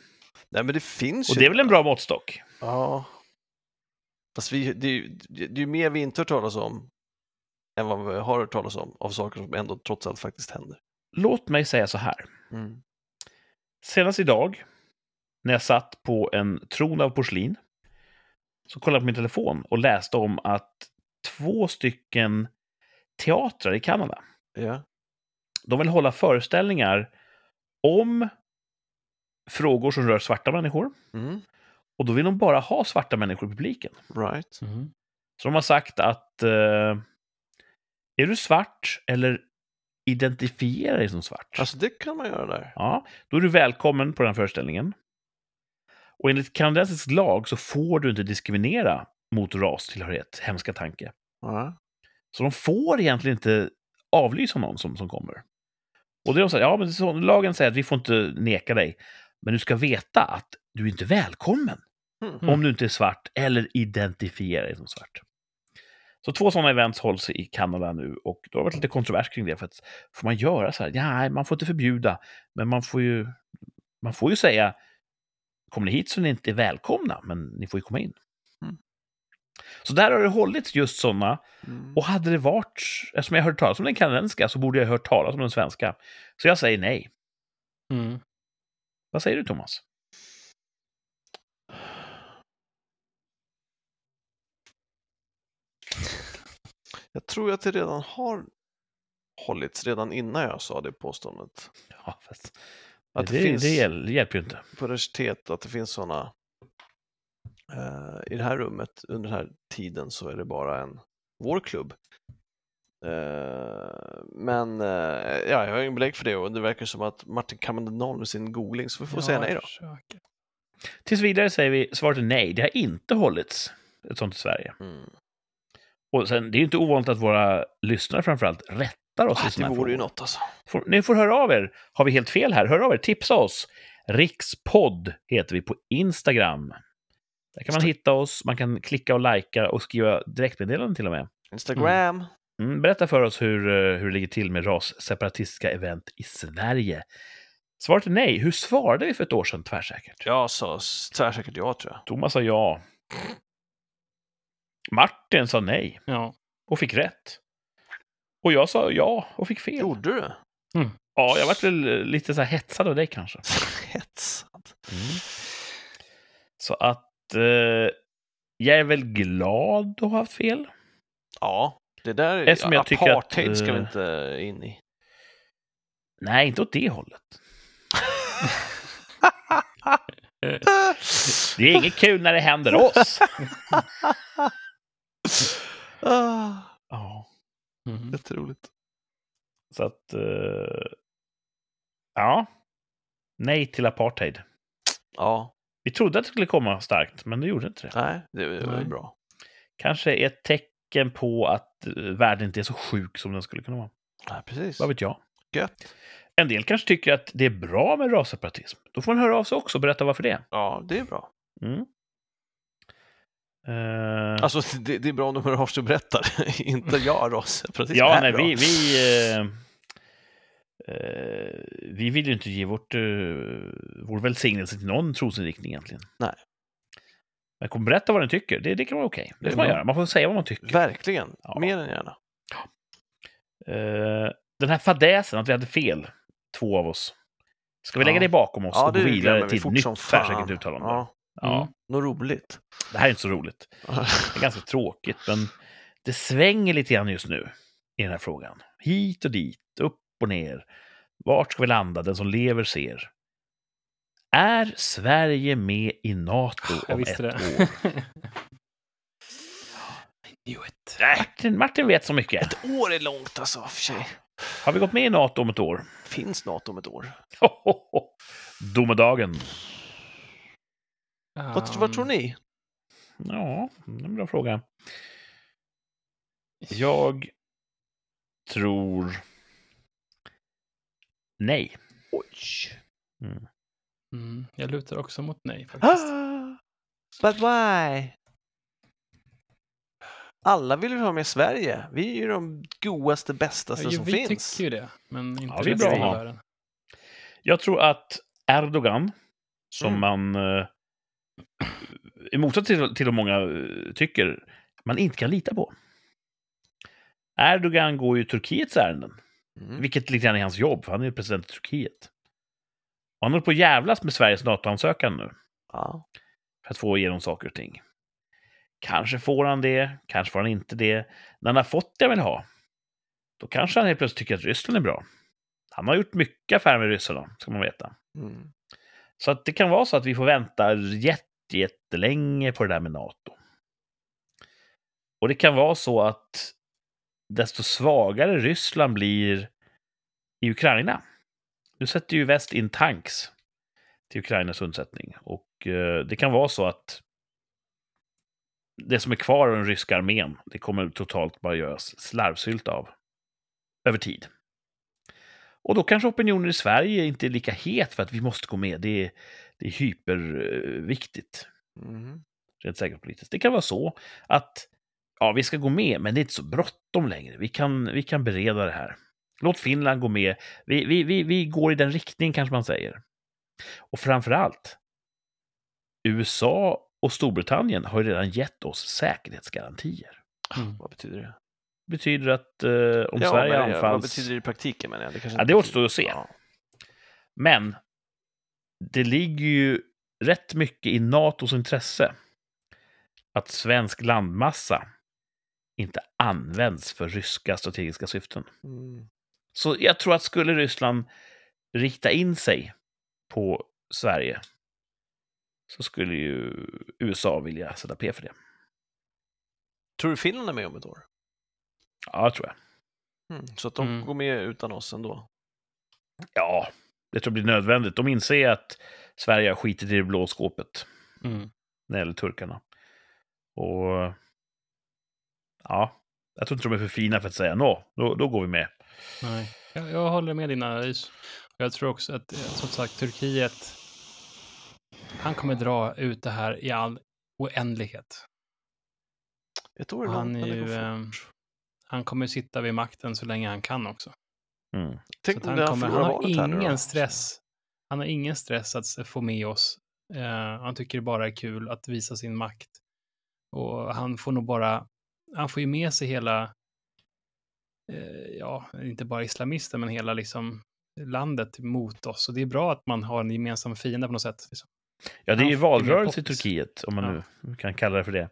B: Nej, men det finns
A: Och
B: ju.
A: det är väl en bra måttstock?
B: Ja. Fast vi, det, är ju, det det är ju mer vi inte hört talas om än vad vi har hört talas om av saker som ändå trots allt faktiskt händer.
A: Låt mig säga så här.
B: Mm.
A: Senast idag, när jag satt på en tron av porslin, så kollade jag på min telefon och läste om att två stycken teatrar i Kanada,
B: Ja.
A: de vill hålla föreställningar om frågor som rör svarta människor.
B: Mm.
A: Och då vill de bara ha svarta människor i publiken.
B: Right.
C: Mhm.
A: Så de har sagt att eh, är du svart eller identifiera dig som svart.
B: Alltså det kan man göra där.
A: Ja, då är du välkommen på den här föreställningen. Och enligt kanadensisk lag så får du inte diskriminera mot rastillhörighet, hemska tanke.
B: Ja.
A: Så de får egentligen inte avlysa någon som, som kommer. Och det är de säger, ja men så, lagen säger att vi får inte neka dig, men du ska veta att du är inte välkommen
B: Mm.
C: Mm.
A: om du inte är svart eller identifierar dig som svart. Så två sådana events hålls i Kanada nu och det har varit lite kontrovers kring det. För att, får man göra så här? Nej, man får inte förbjuda, men man får ju, man får ju säga kommer ni hit så ni inte är välkomna, men ni får ju komma in.
B: Mm.
A: Så där har det hållits just sådana.
B: Mm.
A: Och hade det varit, eftersom jag hört talas om den kanadensiska så borde jag hört talas om den svenska. Så jag säger nej.
C: Mm.
A: Vad säger du Thomas?
B: Jag tror att det redan har hållits redan innan jag sa det påståendet.
A: Ja, fast,
B: Att
A: det,
B: det, finns
A: det hjäl- hjälper ju inte.
B: på universitet att det finns sådana eh, i det här rummet under den här tiden så är det bara en vår klubb. Eh, men eh, ja, jag har ingen belägg för det och det verkar som att Martin Kammerdal med sin googling så vi får
C: Ja,
B: säga nej
C: jag
B: då.
C: försöker.
A: Tills vidare säger vi svaret är nej. Det har inte hållits ett sånt i Sverige.
B: Mm.
A: Och sen, det är ju inte ovanligt att våra lyssnare framförallt rättar oss i
B: Ah,
A: såna
B: det
A: här
B: vore ju
A: frågor.
B: något alltså.
A: Får, ni får höra av er. Har vi helt fel här? Hör av er. Tipsa oss. Rikspodd heter vi på Instagram. Där kan man hitta oss, man kan klicka och lajka och skriva direktmeddelanden till och med.
B: Instagram.
A: Mm, berätta för oss hur, eh, hur det ligger till med rasseparatistiska event i Sverige. Svaret är nej. Hur svarade vi för ett år sedan tvärsäkert?
B: Jag sa s- tvärsäkert ja tror jag.
A: Thomas sa ja. Martin sa nej
C: Ja.
A: och fick rätt. Och jag sa ja och fick fel.
B: Gjorde du det?
A: Ja, jag vart väl eh, lite så här hetsad av dig kanske.
B: Hetsat.
A: Mm. Så att eh, jag är väl glad att ha haft fel.
B: Ja, det där är
A: Eftersom jag tycker att,
B: apartheid ska vi
A: eh,
B: inte in i.
A: Nej, inte åt det hållet. Det är inget kul när det händer oss.
B: ah,
A: Ja,
B: Mm.
C: Mhm.
B: jätteroligt.
A: så att... Eh, ja. Nej till apartheid.
B: Ja,
A: Vi trodde att det skulle komma starkt, men det gjorde inte det.
B: nej, det är
C: Nej.
B: bra.
A: Kanske är ett tecken på att eh, världen inte är så sjuk som den skulle kunna vara.
B: Ja, precis.
A: Vad vet jag?
B: Gött.
A: En del kanske tycker att det är bra med rasseparatism. Då får man höra av sig också och berätta varför det.
B: Ja, det är bra.
A: Mm. Eh,
B: Alltså, det, det är bra om de hör av sig och berättar. inte jag, Ross. Precis,
A: ja,
B: är
A: nej,
B: bra.
A: vi... Vi, eh, eh, vi vill ju inte ge vårt, eh, vår välsignelse till någon trosinriktning egentligen.
B: Nej.
A: Men kom, berätta vad den tycker. Det, det kan vara okej.
B: Det
A: Det
B: är
A: får man
B: bra.
A: göra. Man får säga vad man tycker.
B: Verkligen.
A: Ja.
B: Mer än gärna.
A: Eh, den här fadäsen att vi hade fel, två av oss. Ska vi lägga
B: Ja.
A: det bakom oss och gå vidare
B: glömmer
A: till ett nytt tvärsäkert uttalande? Ja.
B: Ja, något roligt.
A: Det här är inte så roligt. Det är ganska tråkigt, men det svänger lite grann just nu i den här frågan. Hit och dit, upp och ner. Vart ska vi landa? Den som lever ser. Är Sverige med i NATO
C: Jag
A: om
C: visste
A: ett
C: det.
A: år?
C: I knew it.
A: Martin, Martin vet så mycket.
B: Ett år är långt alltså, för sig.
A: Har vi gått med i NATO om ett år?
B: Finns Nato om ett år?
A: Domedagen.
B: Vad, vad
C: Um,
B: tror ni?
A: Ja, det är en bra fråga. Jag tror... Nej.
B: Oj.
A: Mm.
C: Mm, jag lutar också mot nej faktiskt.
B: Ah, But why? Alla vill ju ha med Sverige. Vi är ju de godaste, bästaste
C: Ja, ju,
B: som
C: vi
B: finns.
C: tycker ju det, men inte
A: Ja, vi är
C: resten
A: bra.
C: av världen.
A: Jag tror att Erdogan, som
B: Mm.
A: man eh, i motsats till, till vad många eh, tycker, man inte kan lita på. Erdogan går ju Turkiets ärenden,
B: Mm.
A: vilket lite grann är hans jobb, för han är ju president i Turkiet. Och han håller på att jävlas med Sveriges NATO-ansökan nu,
B: Ja.
A: för att få igenom saker och ting. Kanske får han det, kanske får han inte det. När han har fått det han vill ha, då kanske han helt plötsligt tycker att Ryssland är bra. Han har gjort mycket affärer med ryssarna, ska man veta.
B: Mm.
A: Så att det kan vara så att vi får vänta jätte, jättelänge på det där med NATO. Och det kan vara så att desto svagare Ryssland blir i Ukraina. Nu sätter ju väst in tanks till Ukrainas undsättning. Och eh, det kan vara så att det som är kvar av den ryska armén, det kommer totalt bara göras slarvsylta av. Över tid. Och då kanske opinionen i Sverige inte är lika het för att vi måste gå med. Det är, det är hyperviktigt,
B: Mm.
A: rent säkerhetspolitiskt. Det kan vara så att ja, vi ska gå med, men det är inte så bråttom längre. Vi kan, vi kan bereda det här. Låt Finland gå med. Vi, vi, vi, vi går i den riktningen, kanske man säger. Och framför allt, USA och Storbritannien har ju redan gett oss säkerhetsgarantier.
C: Mm.
B: Vad betyder det?
A: Det betyder att eh, om
B: Ja,
A: Sverige
B: men det- Vad
A: anfalls...
B: betyder det i praktiken menar jag? Det, kanske
A: Ja,
B: inte
A: det
B: betyder-
A: återstår att se.
B: Ja.
A: Men det ligger ju rätt mycket i NATOs intresse att svensk landmassa inte används för ryska strategiska syften.
B: Mm.
A: Så jag tror att skulle Ryssland rikta in sig på Sverige så skulle ju USA vilja sätta P för det.
B: Tror du Finland är med om ett år?
A: Ja, det tror jag.
B: Mm. Så att de
C: Mm.
B: går med utan oss ändå?
A: Ja, det tror jag blir nödvändigt. De inser att Sverige har skitit i det blå skåpet.
C: Mm.
A: när det gäller turkarna. Och ja, jag tror inte de är för fina för att säga nå, då, då går vi med.
C: Nej. Jag, jag håller med din analys. Och Jag tror också att, eh, som sagt, Turkiet, han kommer dra ut det här i all oändlighet.
B: Ett år är
C: Och han,
B: långt,
C: är
B: men det
C: ju,
B: går fort.
C: eh, han kommer sitta vid makten så länge han kan också.
A: Mm.
C: Så
B: Tänk
C: att
B: om
C: han,
B: det
C: kommer, han
B: förlorar
C: har
B: valet här nu då.
C: ingen stress. Han har ingen stress att s- få med oss. Eh, han tycker det bara är kul att visa sin makt. Och han får nog bara, han får ju med sig hela, eh, ja, inte bara islamister, men hela liksom landet mot oss. Och det är bra att man har en gemensam fiende på något sätt. Liksom.
A: Ja, det är ju
C: Han får
A: valrörelse i
C: poppis.
A: Turkiet, om man nu kan kalla det för det.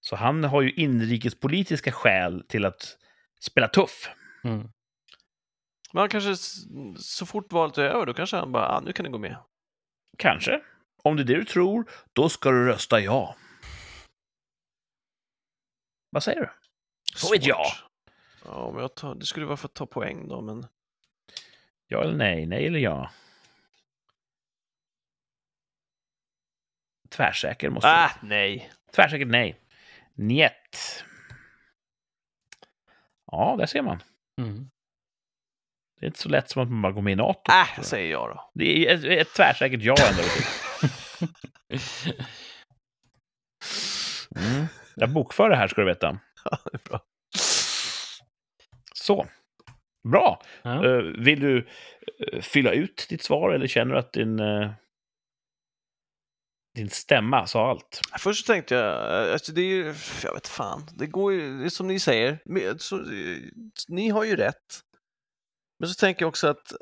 A: Så han har ju inrikespolitiska skäl till att spela tuff.
B: Mm. Men han kanske, s- så fort valet är över, då kanske han bara, ah, nu kan ni gå med.
A: Kanske. Om det är det du tror, då ska du rösta ja. Vad säger du? Så vet jag.
B: Svårt. Ja, men jag tar, det skulle vara för att ta poäng då, men
A: Ja eller nej, nej eller ja? Tvärsäker måste du.
B: Ah, nej.
A: Tvärsäkert nej. Njet. Ja, där ser man.
C: Mm.
A: Det är inte så lätt som att man bara går med i NATO.
B: Äh, säger jag då.
A: Det är ett, ett tvärsäkert ja ändå. vet du. Mm. Jag bokför det här ska du veta.
B: Det är bra.
A: Så. Bra.
C: Ja.
A: Eh, vill du eh, fylla ut ditt svar eller känner du att din, eh, din stämma sa allt?
B: Först så tänkte jag, eh, alltså det är ju, jag vet fan, det går ju, det är som ni säger, med, så, eh, ni har ju rätt. Men så tänker jag också att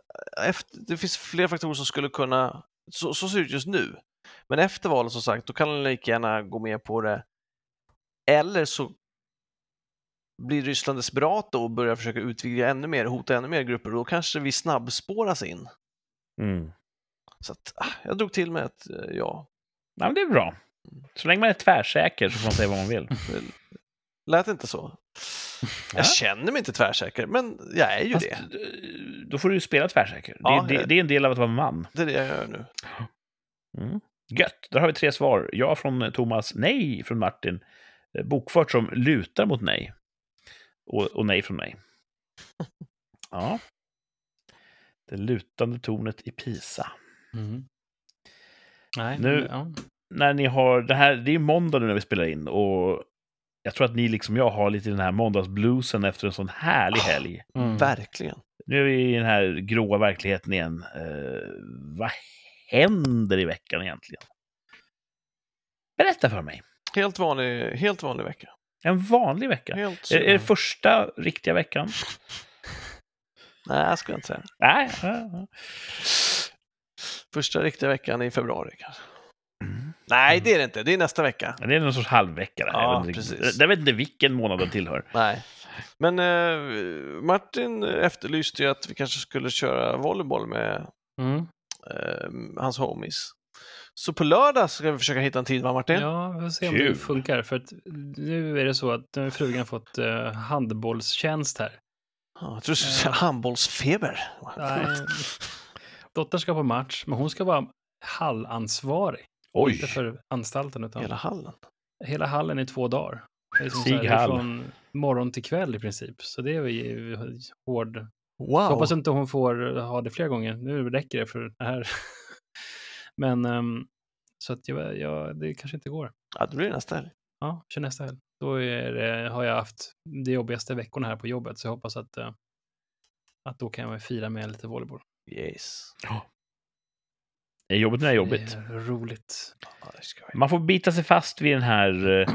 B: eh, efter, det finns fler faktorer som skulle kunna, så, så ser det ut just nu. Men efter valet som sagt, då kan han lika gärna gå med på det. Eller så blir Ryssland desperat och börjar försöka utvidga ännu mer, hota ännu mer grupper och då kanske vi snabbspåras in.
A: Mm.
B: Så att, ah, jag drog till med ett eh, ja.
A: Ja, men det är bra. Så länge man är tvärsäker så får man säga vad man vill.
B: Lät inte så?
A: Ja.
B: Jag känner mig inte tvärsäker, men jag är ju
A: Fast,
B: det.
A: eh, Då får du ju spela tvärsäker.
B: Ja, eh.
A: det, är- det,
B: jag-
A: det är en del av att vara man.
B: Det är det jag gör nu.
A: Mm. Gött, där har vi tre svar. Ja från eh, Thomas, nej från Martin. Eh, Bokfört som lutar mot nej. Och, och nej från mig. Ja. Det lutande tornet i Pisa.
B: Mm.
C: Mhm. Nej,
A: Nu-
C: men, ja.
A: När ni har, det, här, det är måndag nu när vi spelar in och jag tror att ni liksom jag har lite den här måndagsbluesen efter en sån härlig
B: Ah.
A: helg.
C: Mm.
B: Verkligen.
A: Nu är vi i den här gråa verkligheten igen. Eh, vad händer i veckan egentligen? Berätta för mig.
B: Helt vanlig, helt vanlig vecka.
A: En vanlig vecka.
B: Helt
A: Är, är det
B: Nej,
A: första riktiga veckan?
B: jag skulle jag inte säga.
A: Nej. ja, ja.
B: Första riktiga veckan i februari kanske.
A: Mm.
B: Nej, det är det inte. Det är nästa vecka.
A: Det är någon sorts halvvecka. Där.
B: Ja,
A: jag, vet inte,
B: precis.
A: jag vet inte vilken månad den tillhör.
B: Nej. Men eh, Martin efterlyste ju att vi kanske skulle köra volleyboll med
C: Mm.
B: eh, hans homies. Så på lördag ska vi försöka hitta en tid, va Martin?
C: Ja, vi får se om
A: Kul.
C: det funkar. För att nu är det så att nu har frugan fått eh, handbollstjänst här.
B: Ja, jag tror du skulle
A: Eh.
B: säga handbollsfeber.
C: Nej. Dottern ska på match, men hon ska vara hallansvarig.
A: Oj.
C: Inte för anstalten, utan
B: Hela
C: hela,
B: hallen.
C: hallen i två dagar. Det är liksom
A: Sig
C: så här, det
A: hall.
C: är från morgon till kväll i princip. Så det är vi hård. Jag
B: Wow!
C: hoppas inte hon får ha det fler gånger. Nu räcker det för det här. men ehm, så att jag, jag, det kanske inte går.
B: Ja, det blir nästa helg.
C: Ja, kör nästa helg. Då är det, har jag haft de jobbigaste veckorna här på jobbet, så jag hoppas att, eh, att då kan jag fira med lite volleyboll.
B: Yes.
A: Är jobbet nu är
C: Det
A: jobbigt.
C: är roligt.
B: Ja, det ska vi.
A: Man får bita sig fast vid den här eh,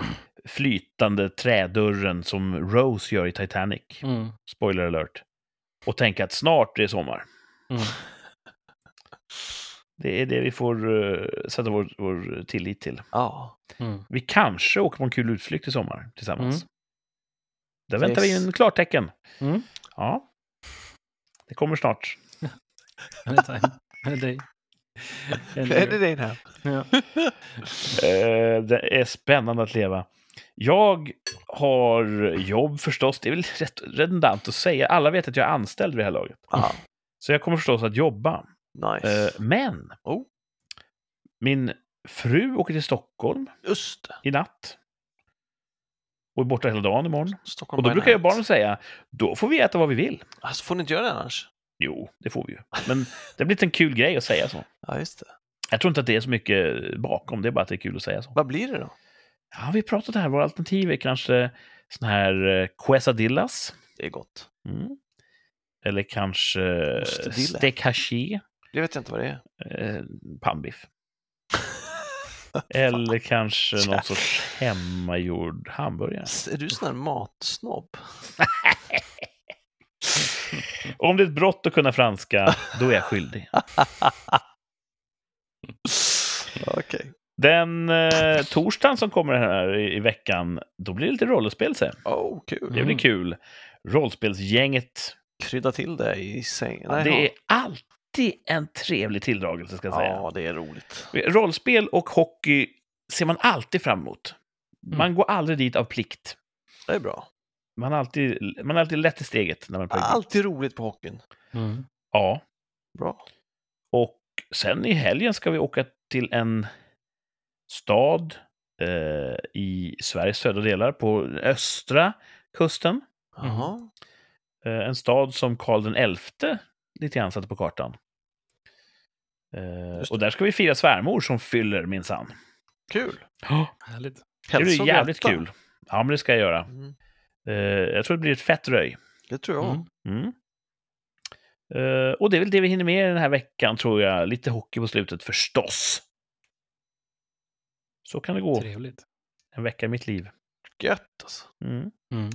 A: flytande trädörren som Rose gör i Titanic.
C: Mm.
A: Spoiler alert. Och tänka att snart är det sommar.
C: Mm.
A: Det är det vi får eh, sätta vår, vår tillit till.
B: Ja,
C: Mm.
A: Vi kanske åker på en kul utflykt i sommar tillsammans.
C: Mm.
A: Där väntar vi
B: Yes.
A: in klartecken.
C: Mm.
A: Ja. Det kommer snart.
C: Anytime. Any day. Any
B: är det
C: year.
B: din här?
C: Ja.
A: Eh, det är spännande att leva. Jag har jobb förstås. Det är väl rätt redundant att säga. Alla vet att jag är anställd vid det här laget.
B: Ja,
A: Så jag kommer förstås att jobba.
B: nice.
A: Eh, Men
B: Oh.
A: min fru åker till Stockholm
B: Just det.
A: i natt. Och är borta hela dagen imorgon.
B: Stockholm
A: Och då
B: by
A: brukar jag
B: night.
A: barnen säga, då får vi äta vad vi vill.
B: Alltså, får ni inte göra det annars?
A: Jo, det får vi ju. Men det blir en kul grej att säga så.
B: Ja, just det.
A: Jag tror inte att det är så mycket bakom, det är bara att det är kul att säga så.
B: Vad blir det då?
A: Ja, vi har pratat här, våra alternativ är kanske såna här eh, quesadillas.
B: Det är gott.
A: Mm. Eller kanske eh,
B: Ostdille.
A: stek haché,
B: Det vet jag inte vad det är.
A: eh, pannbiff. Eller kanske någon sorts hemmagjord hamburgare.
B: S- Är du sån här matsnobb?
A: Om det är ett brott att kunna franska, då är jag skyldig.
B: Okej.
A: Den eh, torsdagen som kommer här i, i veckan, då blir det lite rollspel sen.
B: Oh, kul.
A: Det blir
C: Mm.
A: kul. Rollspelsgänget.
B: Krydda till det i sängen. Nej,
A: Det är alltid en trevlig tilldragelse, ska jag
B: ja.
A: säga.
B: ja, det är roligt.
A: Rollspel och hockey ser man alltid fram emot. Man
C: Mm.
A: går aldrig dit av plikt.
B: Det är bra.
A: Man är alltid, man är alltid lätt i steget när man är på Allt.
B: Alltid roligt på hockeyn.
C: Mm.
A: Ja.
B: Bra.
A: Och sen i helgen ska vi åka till en stad eh, i Sveriges södra delar, på östra kusten.
B: Jaha.
A: Eh, en stad som Karl den XI lite grann satte på kartan. Eh,
B: Just det.
A: och där ska vi fira svärmor som fyller minsann.
B: Kul.
C: Härligt.
A: Det blir
B: Hälsa och
A: jävligt
B: hjärta.
A: kul. Ja, men det ska jag göra.
B: Mm,
A: Eh, jag tror det blir ett fett röj.
B: det tror jag.
C: Mm.
A: Mm. Eh, och det är väl det vi hinner med den här veckan, tror jag. Lite hockey på slutet, förstås. Så kan det gå
C: Trevligt.
A: en vecka i mitt liv.
B: Gött alltså.
A: Mm.
C: Mm.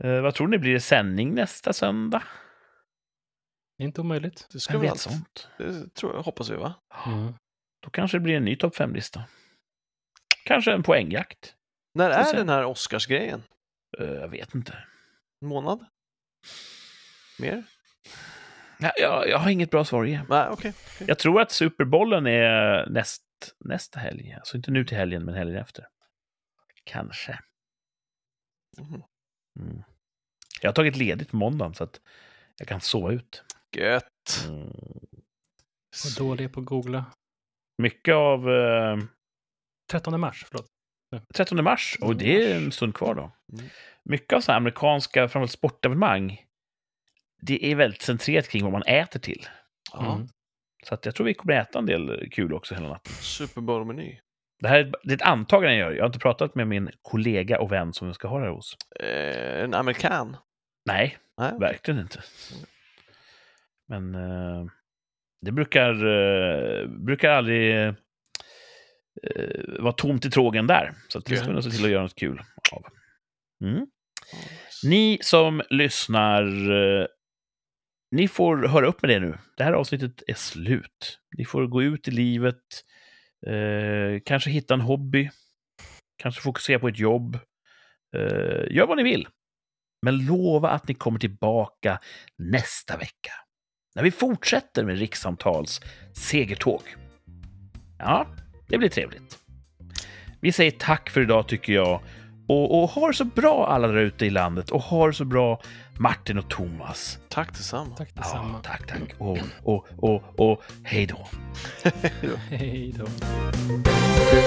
A: Eh, vad tror ni, blir det sändning nästa söndag?
C: Inte omöjligt.
B: Det
A: Vem
B: ska vi
A: vet
B: allt.
A: sånt?
B: Det tror jag, hoppas vi va?
C: Mm.
A: Då kanske det blir en ny topp 5-lista. Kanske en poängjakt.
B: När
A: Får
B: är
A: se.
B: den här Oscarsgrejen?
A: Eh, jag vet inte.
B: En månad? Mer?
A: Ja, jag, jag har inget bra svar igen.
B: Nej, okej. okej.
A: Jag tror att Superbollen är näst, nästa helg. Alltså inte nu till helgen, men helgen efter. Kanske.
B: Mhm.
A: Mm. Jag har tagit ledigt på måndagen så att jag kan sova ut.
B: Gött.
A: Mm.
C: Vad dålig på att googla.
A: Mycket av eh,
C: 13 mars, förlåt.
A: 13 mars, och det är en stund kvar då.
B: Mm.
A: Mycket av sådana amerikanska, framförallt sportevenemang, det är väldigt centrerat kring vad man äter till.
B: Ja.
C: Mm.
A: Så att jag tror vi kommer äta en del kul också hela natten.
B: Super Bowl-meny.
A: Det här är ett- det är ett antagande jag gör. Jag har inte pratat med min kollega och vän som jag ska ha det här hos.
B: Eh, en amerikan.
A: Nej,
B: Nej, okej.
A: verkligen inte. Men eh, det brukar, eh, brukar aldrig eh, vara tomt i trågen där. Så att det
B: Kul.
A: ska vi nog se till att göra något kul av. Mm.
B: Ja,
A: Ni som lyssnar, eh, ni får höra upp med det nu. Det här avsnittet är slut. Ni får gå ut i livet, eh, kanske hitta en hobby, kanske fokusera på ett jobb. Eh, gör vad ni vill. Men lova att ni kommer tillbaka nästa vecka. När vi fortsätter med Rikssamtals segertåg. Ja, det blir trevligt. Vi säger tack för idag tycker jag. Och, och har så bra alla där ute i landet och har så bra Martin och Thomas.
B: Tack detsamma.
C: Tack
A: Ja,
C: detsamma.
A: tack, tack. Och, och, och, och hej då.
C: Hej då.